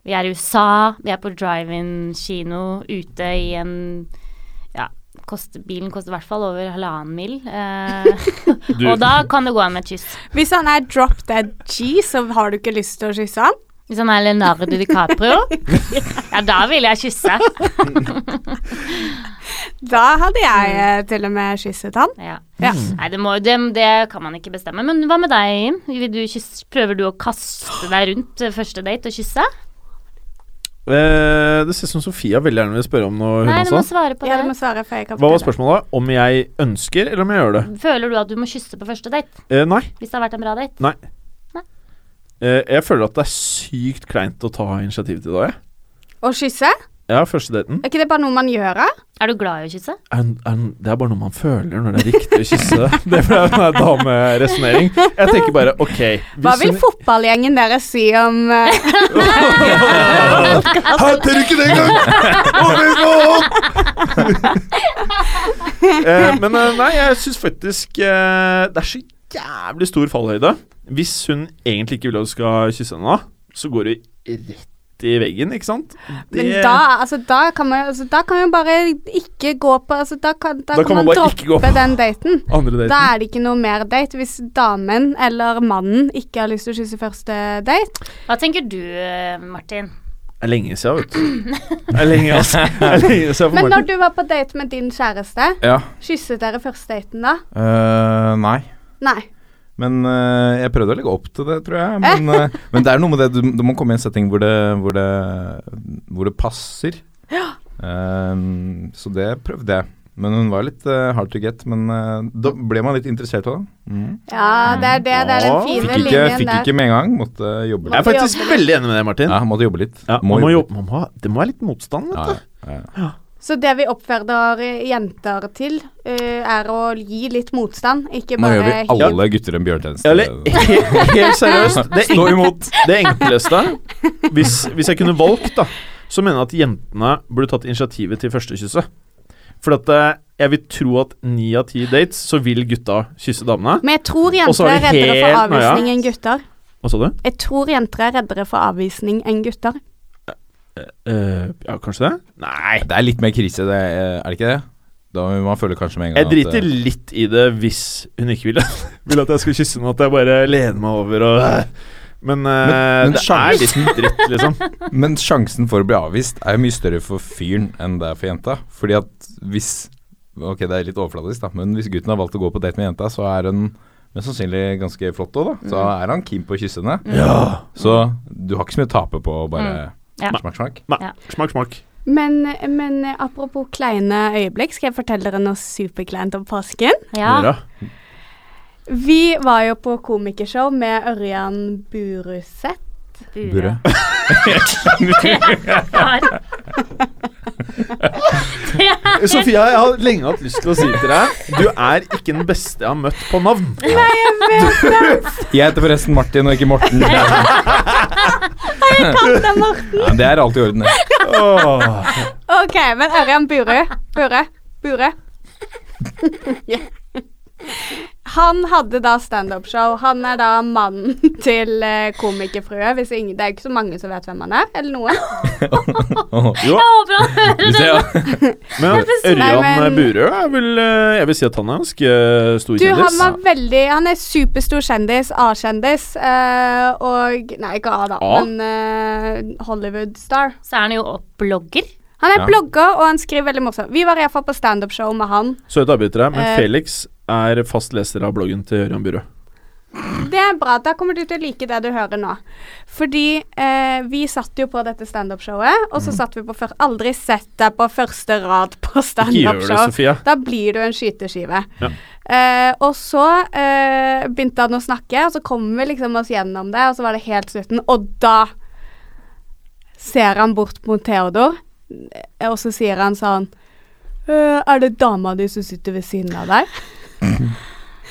[SPEAKER 2] Vi er i USA, vi er på drive-in-kino, ute i en Ja, kost, bilen koster i hvert fall over halvannen mil. Eh,
[SPEAKER 3] Du-
[SPEAKER 2] og da kan det gå an med et kyss.
[SPEAKER 1] Hvis han er drop dead G, så har du ikke lyst til å kysse han?
[SPEAKER 2] Hvis han er Leonardo DiCaprio, ja, da vil jeg kysse.
[SPEAKER 1] Da hadde jeg eh, til og med kysset han.
[SPEAKER 2] Ja.
[SPEAKER 1] Ja.
[SPEAKER 2] Nei, det, må, det, det kan man ikke bestemme. Men hva med deg, Jim? Vil du kysse, prøver du å kaste deg rundt eh, første date og kysse?
[SPEAKER 3] Eh, det ser ut som Sofia veldig gjerne vil spørre om noe, hun
[SPEAKER 2] Nei, du må
[SPEAKER 3] også.
[SPEAKER 2] svare på
[SPEAKER 1] Ja, du må
[SPEAKER 2] det.
[SPEAKER 1] svare, for jeg kan
[SPEAKER 3] Hva var
[SPEAKER 1] fortelle.
[SPEAKER 3] spørsmålet? Om jeg ønsker, eller om jeg gjør det?
[SPEAKER 2] Føler du at du må kysse på første date?
[SPEAKER 3] Eh, nei.
[SPEAKER 2] Hvis det har vært en bra date?
[SPEAKER 3] Nei.
[SPEAKER 2] Nei.
[SPEAKER 3] Eh, jeg føler at det er sykt kleint å ta initiativ til det. jeg.
[SPEAKER 1] Å kysse?
[SPEAKER 3] Ja, første daten.
[SPEAKER 1] Er ikke det bare noe man gjør? da?
[SPEAKER 2] Er du glad i å kysse?
[SPEAKER 3] Er, er, det er bare noe man føler når det er riktig å kysse. det er bare en dameresonnering. Jeg tenker bare OK
[SPEAKER 1] Hva vil fotballgjengen deres si om eh,
[SPEAKER 2] Altså-
[SPEAKER 3] Her tør ikke det engang! eh, men eh, nei, jeg syns faktisk eh, det er så jævlig stor fallhøyde. Hvis hun egentlig ikke vil at du skal kysse henne, da, så går du rett i veggen, ikke sant?
[SPEAKER 1] Men da, altså, da kan man jo altså, da kan man jo bare ikke gå på altså, Da kan, da kan man,
[SPEAKER 3] bare ikke gå
[SPEAKER 1] droppe
[SPEAKER 3] på-
[SPEAKER 1] den daten.
[SPEAKER 3] Andre daten.
[SPEAKER 1] Da er det ikke noe mer date hvis damen eller mannen ikke har lyst til å kysse første date.
[SPEAKER 2] Hva tenker du, eh, Martin?
[SPEAKER 3] Det er lenge siden, vet du. Det er lenge, altså. Det er lenge siden for
[SPEAKER 1] Men når
[SPEAKER 3] Martin.
[SPEAKER 1] du var på date med din kjæreste,
[SPEAKER 4] Ja.
[SPEAKER 1] kysset dere første daten da?
[SPEAKER 4] Eh, nei.
[SPEAKER 1] Nei.
[SPEAKER 4] Men eh, jeg prøvde å legge opp til det, tror jeg. Men, eh, men det er noe med det du, du må komme i en setting hvor det, hvor det, hvor det passer. Eh, så det prøvde jeg. Men hun var litt eh, hard to get. Men eh, da ble man litt interessert av det. Mm.
[SPEAKER 1] Ja, det er det. Det er den
[SPEAKER 3] Åh.
[SPEAKER 1] fine
[SPEAKER 4] Fikk ikke,
[SPEAKER 1] linjen
[SPEAKER 4] fikk
[SPEAKER 1] der.
[SPEAKER 4] ikke med en gang. Måtte jobbe
[SPEAKER 3] Jeg
[SPEAKER 4] litt.
[SPEAKER 3] er faktisk veldig enig med deg, Martin.
[SPEAKER 4] Ja, måtte jobbe litt.
[SPEAKER 3] Ja, man må jobbe. Man må, ha- det må være litt motstand, vet du.
[SPEAKER 4] Ja, ja, ja.
[SPEAKER 1] Så det vi oppfordrer eh, jenter til, eh, er å gi litt motstand, ikke
[SPEAKER 4] Nå
[SPEAKER 1] bare
[SPEAKER 4] gjør vi
[SPEAKER 1] hygge.
[SPEAKER 4] alle gutter en bjørntjeneste.
[SPEAKER 3] Eller he- helt seriøst det,
[SPEAKER 4] Stå
[SPEAKER 3] enk
[SPEAKER 4] imot.
[SPEAKER 3] det enkleste hvis, hvis jeg kunne valgt, da, så mener jeg at jentene burde tatt initiativet til første kysset. For at eh, jeg vil tro at ni av ti dates så vil gutta kysse damene.
[SPEAKER 1] Men jeg tror
[SPEAKER 3] Og så
[SPEAKER 1] jenter
[SPEAKER 3] er
[SPEAKER 1] er
[SPEAKER 3] det
[SPEAKER 1] reddere for
[SPEAKER 3] helt nøye.
[SPEAKER 1] avvisning enn gutter.
[SPEAKER 3] Hva sa du?
[SPEAKER 1] Jeg tror jenter er reddere for avvisning enn gutter.
[SPEAKER 3] Eh, ja, kanskje det? Nei.
[SPEAKER 4] Det er litt mer krise, det er, er det ikke det? Da man føler kanskje med en gang
[SPEAKER 3] Jeg driter
[SPEAKER 4] at eh,
[SPEAKER 3] litt i det hvis hun ikke vil, vil at jeg skal kysse henne, at jeg bare lener meg over og Men, eh,
[SPEAKER 4] men
[SPEAKER 3] det er litt dritt, liksom.
[SPEAKER 4] Men sjansen for å bli avvist er jo mye større for fyren enn det er for jenta. Fordi at hvis Ok, det er litt overfladisk, da, men hvis gutten har valgt å gå på date med jenta, så er hun mest sannsynlig ganske flott òg, da. Så er han keen på å kysse henne.
[SPEAKER 3] Ja.
[SPEAKER 4] Så du har ikke så mye å tape på å bare
[SPEAKER 2] Ja.
[SPEAKER 4] smakk, smakk.
[SPEAKER 3] Nei,
[SPEAKER 2] Ja.
[SPEAKER 3] smak, smak.
[SPEAKER 1] Men, men eh, apropos kleine øyeblikk, skal jeg fortelle dere noe superkleint om påsken?
[SPEAKER 2] Ja.
[SPEAKER 3] Dere.
[SPEAKER 1] Vi var jo på komikershow med Ørjan Buruseth.
[SPEAKER 4] Bure.
[SPEAKER 3] Sofia, jeg har lenge hatt lyst til å si til deg Du er ikke den beste jeg har møtt på navn.
[SPEAKER 4] Jeg heter forresten Martin og ikke Morten. Ja,
[SPEAKER 1] Kalte Morten.
[SPEAKER 4] men det er alt i orden. det.
[SPEAKER 3] Åh.
[SPEAKER 1] OK, men Ørjan Buru Bure. Bure. Ja. Han hadde da standup-show. Han er da mannen til eh, komikerfrue. Hvis ingen, det er ikke så mange som vet hvem han er, eller noen.
[SPEAKER 3] Jo,
[SPEAKER 2] Jeg håper han hører
[SPEAKER 4] Hvis jeg-
[SPEAKER 3] men
[SPEAKER 1] Nei,
[SPEAKER 3] Ørjan
[SPEAKER 1] men-
[SPEAKER 3] Burøe er vel eh, Jeg vil si at han er ganske eh, stor
[SPEAKER 1] Du, han
[SPEAKER 3] kjendis.
[SPEAKER 1] var veldig Han er superstor kjendis. A-kjendis. eh, og Nei, ikke A, da,
[SPEAKER 3] A?
[SPEAKER 1] men eh, Hollywood-star.
[SPEAKER 2] Så er han jo blogger.
[SPEAKER 1] Han er
[SPEAKER 4] Ja.
[SPEAKER 1] blogger, og han skriver veldig morsomt. Vi var iallfall på standup-show med han.
[SPEAKER 3] Søt avbryter deg, men
[SPEAKER 1] Eh.
[SPEAKER 3] Felix er fast leser av bloggen til Ørjan Burøe.
[SPEAKER 1] Det er bra. Da kommer du til å like det du hører nå. Fordi eh, vi satt jo på dette standup-showet, og så satt vi på før Aldri sett deg på første rad på
[SPEAKER 3] Mm. Ikke gjør det,
[SPEAKER 1] standup-show.
[SPEAKER 3] Sofia.
[SPEAKER 1] Da blir du en skyteskive.
[SPEAKER 3] Ja.
[SPEAKER 1] Eh, og så eh, begynte han å snakke, og så kom vi liksom oss gjennom det, og så var det helt slutten. Og da ser han bort mot Theodor, eh, og så sier han sånn «Øh, Er det dama di som sitter ved siden av deg?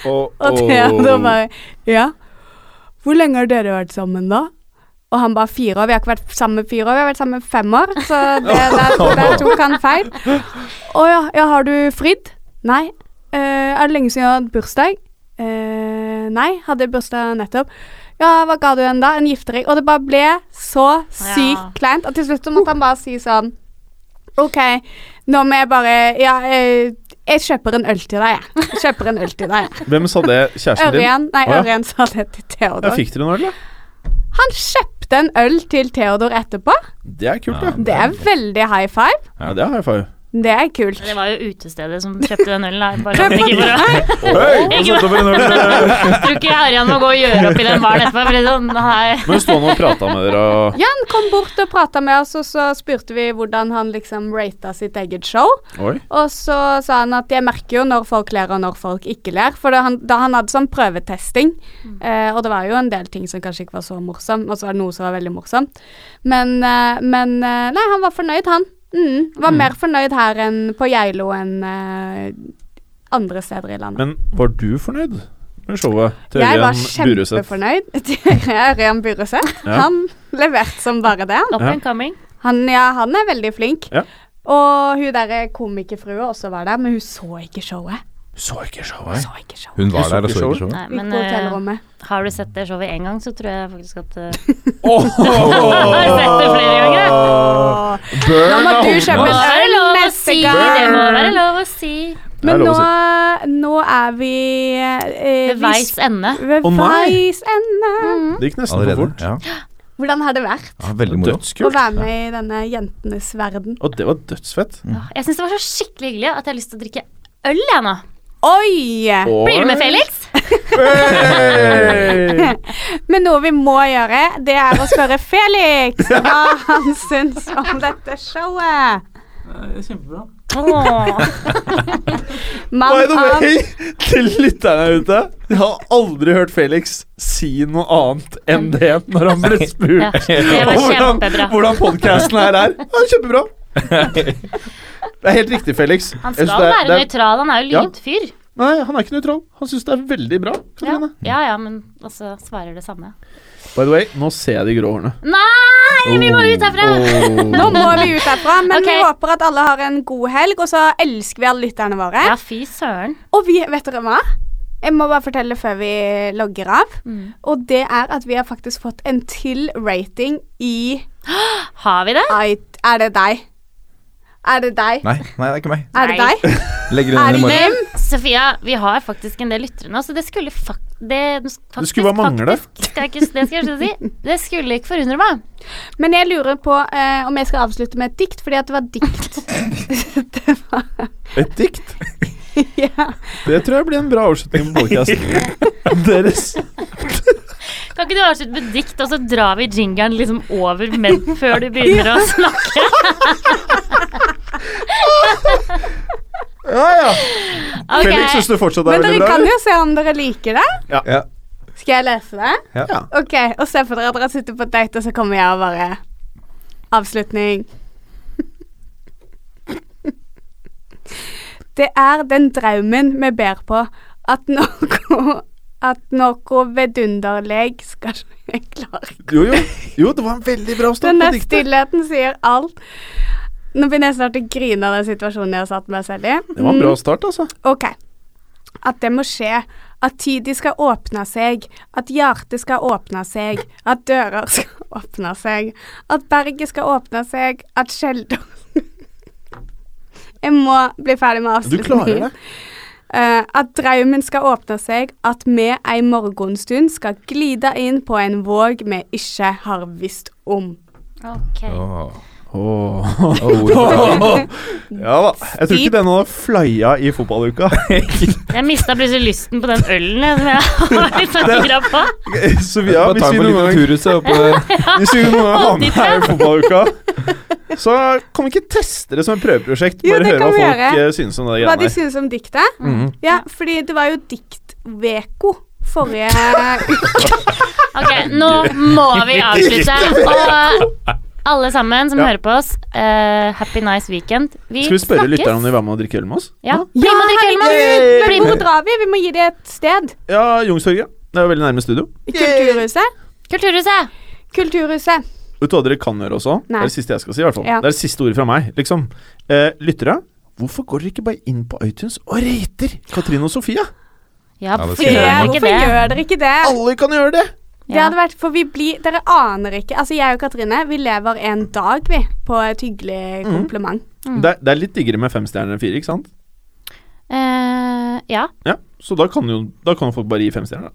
[SPEAKER 1] Og Theodor bare Ja. Hvor lenge har dere vært sammen, da? Og han bare fire år. Vi har ikke vært sammen fire år, vi har vært sammen fem år. Så det, der, der tok han feil. Å ja, ja, har du fridd? Nei. «Eh, er det lenge siden du har hatt bursdag? «Eh, nei, hadde bursdag nettopp. Ja, hva ga du henne da? En giftering? Og det bare ble så sykt
[SPEAKER 2] Ja.
[SPEAKER 1] kleint. Og til slutt så måtte han bare si sånn OK, nå må jeg bare Ja, eh, jeg kjøper en øl til deg, jeg. jeg. Kjøper en øl til deg, jeg.
[SPEAKER 3] Hvem sa det? Kjæresten din?
[SPEAKER 1] Ørjen, nei,
[SPEAKER 3] Å, ja.
[SPEAKER 1] Ørjen sa det til
[SPEAKER 3] Ja,
[SPEAKER 1] Theodor.
[SPEAKER 3] fikk dere noe, eller?
[SPEAKER 1] Han kjøpte en øl til Theodor etterpå.
[SPEAKER 3] Det er kult,
[SPEAKER 4] Ja.
[SPEAKER 3] det.
[SPEAKER 1] Det er veldig high five.
[SPEAKER 3] Ja, det er high five.
[SPEAKER 1] Det er kult.
[SPEAKER 2] Det var jo utestedet som kjøpte den ølen. da. Bare at den ikke var-
[SPEAKER 4] Hei, hva satte du for en øl?
[SPEAKER 2] Jeg tror ikke Harrian må gå og gjøre opp i den baren etterpå. For det er sånn, nei.
[SPEAKER 3] Men stå nå og prate med dere og
[SPEAKER 1] Ja, han kom bort og prata med oss, og så spurte vi hvordan han liksom rata sitt eget show.
[SPEAKER 3] Oi.
[SPEAKER 1] Og så sa han at jeg merker jo når folk ler og når folk ikke ler. For det, han, da han hadde sånn prøvetesting, eh, og det var jo en del ting som kanskje ikke var så morsom, og så var det noe som var veldig morsomt. Men, eh, men eh, nei, han var fornøyd, han. Mm, var mer fornøyd her enn på Geilo enn eh, andre steder i landet.
[SPEAKER 3] Men var du fornøyd med showet? til
[SPEAKER 1] jeg var
[SPEAKER 3] Ørjan Buruseth?
[SPEAKER 1] kjempefornøyd. Ørjan Buruseth.
[SPEAKER 3] Ja.
[SPEAKER 1] Han leverte som bare det.
[SPEAKER 2] Up and coming.
[SPEAKER 1] Han, ja, han er veldig flink.
[SPEAKER 3] Ja.
[SPEAKER 1] Og hun derre komikerfrua også var der, men hun så ikke showet.
[SPEAKER 3] Så ikke showet.
[SPEAKER 1] Hun så ikke showet.
[SPEAKER 4] Hun var der og så ikke showet.
[SPEAKER 2] Nei,
[SPEAKER 1] Gikk
[SPEAKER 2] men
[SPEAKER 1] på
[SPEAKER 2] eh,
[SPEAKER 1] hotellrommet.
[SPEAKER 2] har du sett det showet én gang, så tror jeg faktisk at eh, Har du sett det
[SPEAKER 3] Åh!
[SPEAKER 2] flere ganger?
[SPEAKER 1] Nå må du kjøpe
[SPEAKER 2] Nå
[SPEAKER 1] en
[SPEAKER 2] er det
[SPEAKER 1] øl
[SPEAKER 2] lov å
[SPEAKER 1] neste
[SPEAKER 2] si! Det må
[SPEAKER 1] gang.
[SPEAKER 2] være lov å si.
[SPEAKER 3] Det er
[SPEAKER 1] Men
[SPEAKER 3] lov
[SPEAKER 1] nå,
[SPEAKER 3] å si.
[SPEAKER 1] nå er vi eh,
[SPEAKER 2] Ved Mm. veis ende.
[SPEAKER 1] ved
[SPEAKER 3] Å, nei.
[SPEAKER 1] veis ende.
[SPEAKER 3] Det gikk nesten for
[SPEAKER 4] Allerede?
[SPEAKER 3] fort.
[SPEAKER 4] Ja.
[SPEAKER 1] Hvordan har det vært
[SPEAKER 4] ja, veldig moro.
[SPEAKER 1] å
[SPEAKER 3] Dødskult.
[SPEAKER 1] være med i denne jentenes verden?
[SPEAKER 3] Og det var dødsfett.
[SPEAKER 4] Mm.
[SPEAKER 2] Jeg syns det var så skikkelig hyggelig at jeg har lyst til å drikke øl, jeg nå.
[SPEAKER 1] Oi!
[SPEAKER 2] Blir du med, Felix?
[SPEAKER 3] Hey!
[SPEAKER 1] Men noe vi må gjøre, det er å spørre Felix hva han syns om dette showet.
[SPEAKER 5] Kjempebra.
[SPEAKER 2] Åh.
[SPEAKER 3] By
[SPEAKER 1] Mann
[SPEAKER 3] the
[SPEAKER 1] av
[SPEAKER 3] way, til lytterne her ute Jeg har aldri hørt Felix si noe annet enn det når han ble
[SPEAKER 2] Ja,
[SPEAKER 3] spurt
[SPEAKER 2] det var
[SPEAKER 3] om hvordan,
[SPEAKER 2] kjempebra.
[SPEAKER 3] hvordan podkasten her er. Ja, kjempebra. Det er helt riktig, Felix.
[SPEAKER 2] Han
[SPEAKER 3] Jeg synes
[SPEAKER 2] skal
[SPEAKER 3] det er-
[SPEAKER 2] være
[SPEAKER 3] det er-
[SPEAKER 2] nøytral, han er jo
[SPEAKER 3] Ja.
[SPEAKER 2] lydfyr.
[SPEAKER 3] Nei, han er ikke nøytral. Han syns det er veldig bra. Kan
[SPEAKER 2] Ja.
[SPEAKER 3] hende.
[SPEAKER 2] ja ja, men altså svarer det samme.
[SPEAKER 3] By the way, nå ser jeg de grå hårene.
[SPEAKER 2] Nei, vi må ut herfra!
[SPEAKER 1] Nå må vi ut herfra, men
[SPEAKER 2] Ok.
[SPEAKER 1] vi håper at alle har en god helg, og så elsker vi alle lytterne våre.
[SPEAKER 2] Ja, fy søren.
[SPEAKER 1] Og vi, vet dere hva? Jeg må bare fortelle før vi logger av.
[SPEAKER 2] Mm.
[SPEAKER 1] Og det er at vi har faktisk fått en til rating i
[SPEAKER 2] Har vi det?
[SPEAKER 1] I... Er det deg? Er det deg?
[SPEAKER 4] Nei, nei, det er ikke meg.
[SPEAKER 1] Er det
[SPEAKER 2] Nei.
[SPEAKER 1] deg?
[SPEAKER 4] Legger den
[SPEAKER 1] Er
[SPEAKER 4] inn i
[SPEAKER 1] det
[SPEAKER 4] morgen.
[SPEAKER 1] Jim?
[SPEAKER 2] Sofia, vi har faktisk en del lyttere nå, så det skulle fak det, faktisk,
[SPEAKER 3] Det skulle bare mangle.
[SPEAKER 2] Faktisk, skal jeg ikke, det skal jeg ikke si. Det skulle ikke forundre meg.
[SPEAKER 1] Men jeg lurer på eh, om jeg skal avslutte med et dikt, fordi at det var dikt. det var
[SPEAKER 3] Et dikt?
[SPEAKER 1] Ja.
[SPEAKER 3] Det tror jeg blir en bra avslutning på podkasten. Deres
[SPEAKER 2] Kan ikke du avslutte med dikt, og så drar vi jingeren liksom over men før du begynner å snakke?
[SPEAKER 3] Ja, ja.
[SPEAKER 2] Ok.
[SPEAKER 3] Felix syns du fortsatt er
[SPEAKER 1] Men
[SPEAKER 3] veldig
[SPEAKER 1] dere
[SPEAKER 3] bra?
[SPEAKER 1] kan jo se om dere liker det.
[SPEAKER 4] Ja.
[SPEAKER 1] Skal jeg lese det?
[SPEAKER 4] Ja.
[SPEAKER 3] Ja.
[SPEAKER 1] Ok, og se for dere at dere sitter på date, og så kommer jeg og bare Avslutning. Det er den draumen vi ber på, at noe At noe vidunderlig skal skje klart.
[SPEAKER 3] Jo, jo. jo, det var en veldig bra start
[SPEAKER 1] Denne
[SPEAKER 3] på diktet.
[SPEAKER 1] stillheten sier alt. Nå begynner jeg snart å grine av den situasjonen jeg har satt meg selv i.
[SPEAKER 3] Det var en
[SPEAKER 1] Mm.
[SPEAKER 3] bra start, altså.
[SPEAKER 1] Ok. At det må skje. At tida skal åpne seg. At hjertet skal åpne seg. At dører skal åpne seg. At berget skal åpne seg. At skjelder Jeg må bli ferdig med
[SPEAKER 3] Du
[SPEAKER 1] avslutningen.
[SPEAKER 3] klarer det.
[SPEAKER 1] Eh, at drømmen skal åpne seg, at vi ei morgenstund skal glide inn på en våg vi ikke har visst om.
[SPEAKER 2] Ok.
[SPEAKER 4] Åh.
[SPEAKER 3] Åh.
[SPEAKER 4] Åh.
[SPEAKER 3] Ja da. Jeg tror ikke den hadde flya i fotballuka.
[SPEAKER 2] Jeg mista plutselig lysten på den ølen jeg, som jeg har litt sånn gira på.
[SPEAKER 3] Sofia,
[SPEAKER 4] Bare
[SPEAKER 3] hvis
[SPEAKER 4] ta
[SPEAKER 3] vi
[SPEAKER 4] med
[SPEAKER 3] noen gang
[SPEAKER 4] Litteraturhuset oppe der.
[SPEAKER 3] Hvis vi noen gang har med deg i fotballuka, så kan vi ikke teste det som et prøveprosjekt.
[SPEAKER 1] Jo,
[SPEAKER 3] Bare
[SPEAKER 1] det
[SPEAKER 3] høre
[SPEAKER 1] kan
[SPEAKER 3] hva
[SPEAKER 1] vi
[SPEAKER 3] folk
[SPEAKER 1] gjøre.
[SPEAKER 3] eh, synes om det
[SPEAKER 1] Hva
[SPEAKER 3] greiene
[SPEAKER 1] de
[SPEAKER 3] her.
[SPEAKER 1] synes om diktet?
[SPEAKER 3] Mhm.
[SPEAKER 1] Ja, fordi det var jo diktveko forrige
[SPEAKER 2] Ok, nå må vi avslutte. Og alle sammen som
[SPEAKER 3] Ja.
[SPEAKER 2] hører på oss, eh, happy nice weekend. Vi
[SPEAKER 3] Skal vi
[SPEAKER 2] snakkes.
[SPEAKER 3] spørre lytterne om de var med å drikke øl med oss?
[SPEAKER 2] Ja, bli med og drikke øl med oss.
[SPEAKER 1] herregud,
[SPEAKER 2] Bli
[SPEAKER 1] Men hvor
[SPEAKER 2] med.
[SPEAKER 1] drar vi? Vi må gi det et sted.
[SPEAKER 3] Ja, Youngstorget. Det er veldig nærme studio.
[SPEAKER 1] Kulturhuset.
[SPEAKER 2] Kulturhuset.
[SPEAKER 1] Kulturhuset.
[SPEAKER 3] Vet du hva dere kan gjøre også? Det
[SPEAKER 1] Nei.
[SPEAKER 3] er det siste jeg skal si. i hvert fall
[SPEAKER 1] Ja.
[SPEAKER 3] Det er det siste ordet fra meg. liksom eh, Lyttere, hvorfor går dere ikke bare inn på iTunes og rater Katrine og Sofia?
[SPEAKER 2] Ja,
[SPEAKER 4] det
[SPEAKER 2] hvorfor
[SPEAKER 4] skal jeg
[SPEAKER 2] gjør
[SPEAKER 4] gjøre.
[SPEAKER 2] vi ikke
[SPEAKER 1] Hvorfor
[SPEAKER 2] det?
[SPEAKER 1] gjør dere ikke det?
[SPEAKER 3] Alle kan gjøre det!
[SPEAKER 1] Det hadde vært, for vi blir, Dere aner ikke. Altså, Jeg og Katrine vi lever en dag, vi, på et hyggelig kompliment.
[SPEAKER 3] Det, er, det er litt diggere med fem stjerner enn fire, ikke sant?
[SPEAKER 2] Eh, ja.
[SPEAKER 3] Ja, Så da kan jo da kan folk bare gi fem stjerner. da.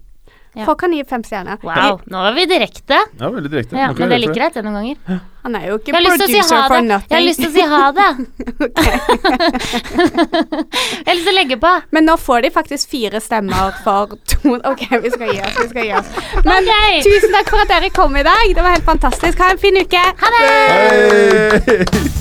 [SPEAKER 2] Ja.
[SPEAKER 1] Folk kan gi fem stjerner.
[SPEAKER 2] Wow, nå var vi direkte.
[SPEAKER 3] Ja, veldig direkte.
[SPEAKER 2] Ja,
[SPEAKER 3] Nå kan
[SPEAKER 2] men det
[SPEAKER 3] vi gjøre
[SPEAKER 2] liker jeg ikke noen ganger.
[SPEAKER 1] Han er jo ikke
[SPEAKER 2] Jeg har lyst til å si
[SPEAKER 1] producer
[SPEAKER 2] ha det.
[SPEAKER 1] for
[SPEAKER 2] Jeg har
[SPEAKER 1] nothing.
[SPEAKER 2] lyst til å si ha det. Jeg har lyst til å legge på.
[SPEAKER 1] Men nå får de faktisk fire stemmer for to OK, vi skal gi oss. Vi skal gi oss. Men
[SPEAKER 2] Ok.
[SPEAKER 1] tusen takk for at dere kom i dag. Det var helt fantastisk. Ha en fin uke.
[SPEAKER 2] Ha det!
[SPEAKER 3] det. Hei!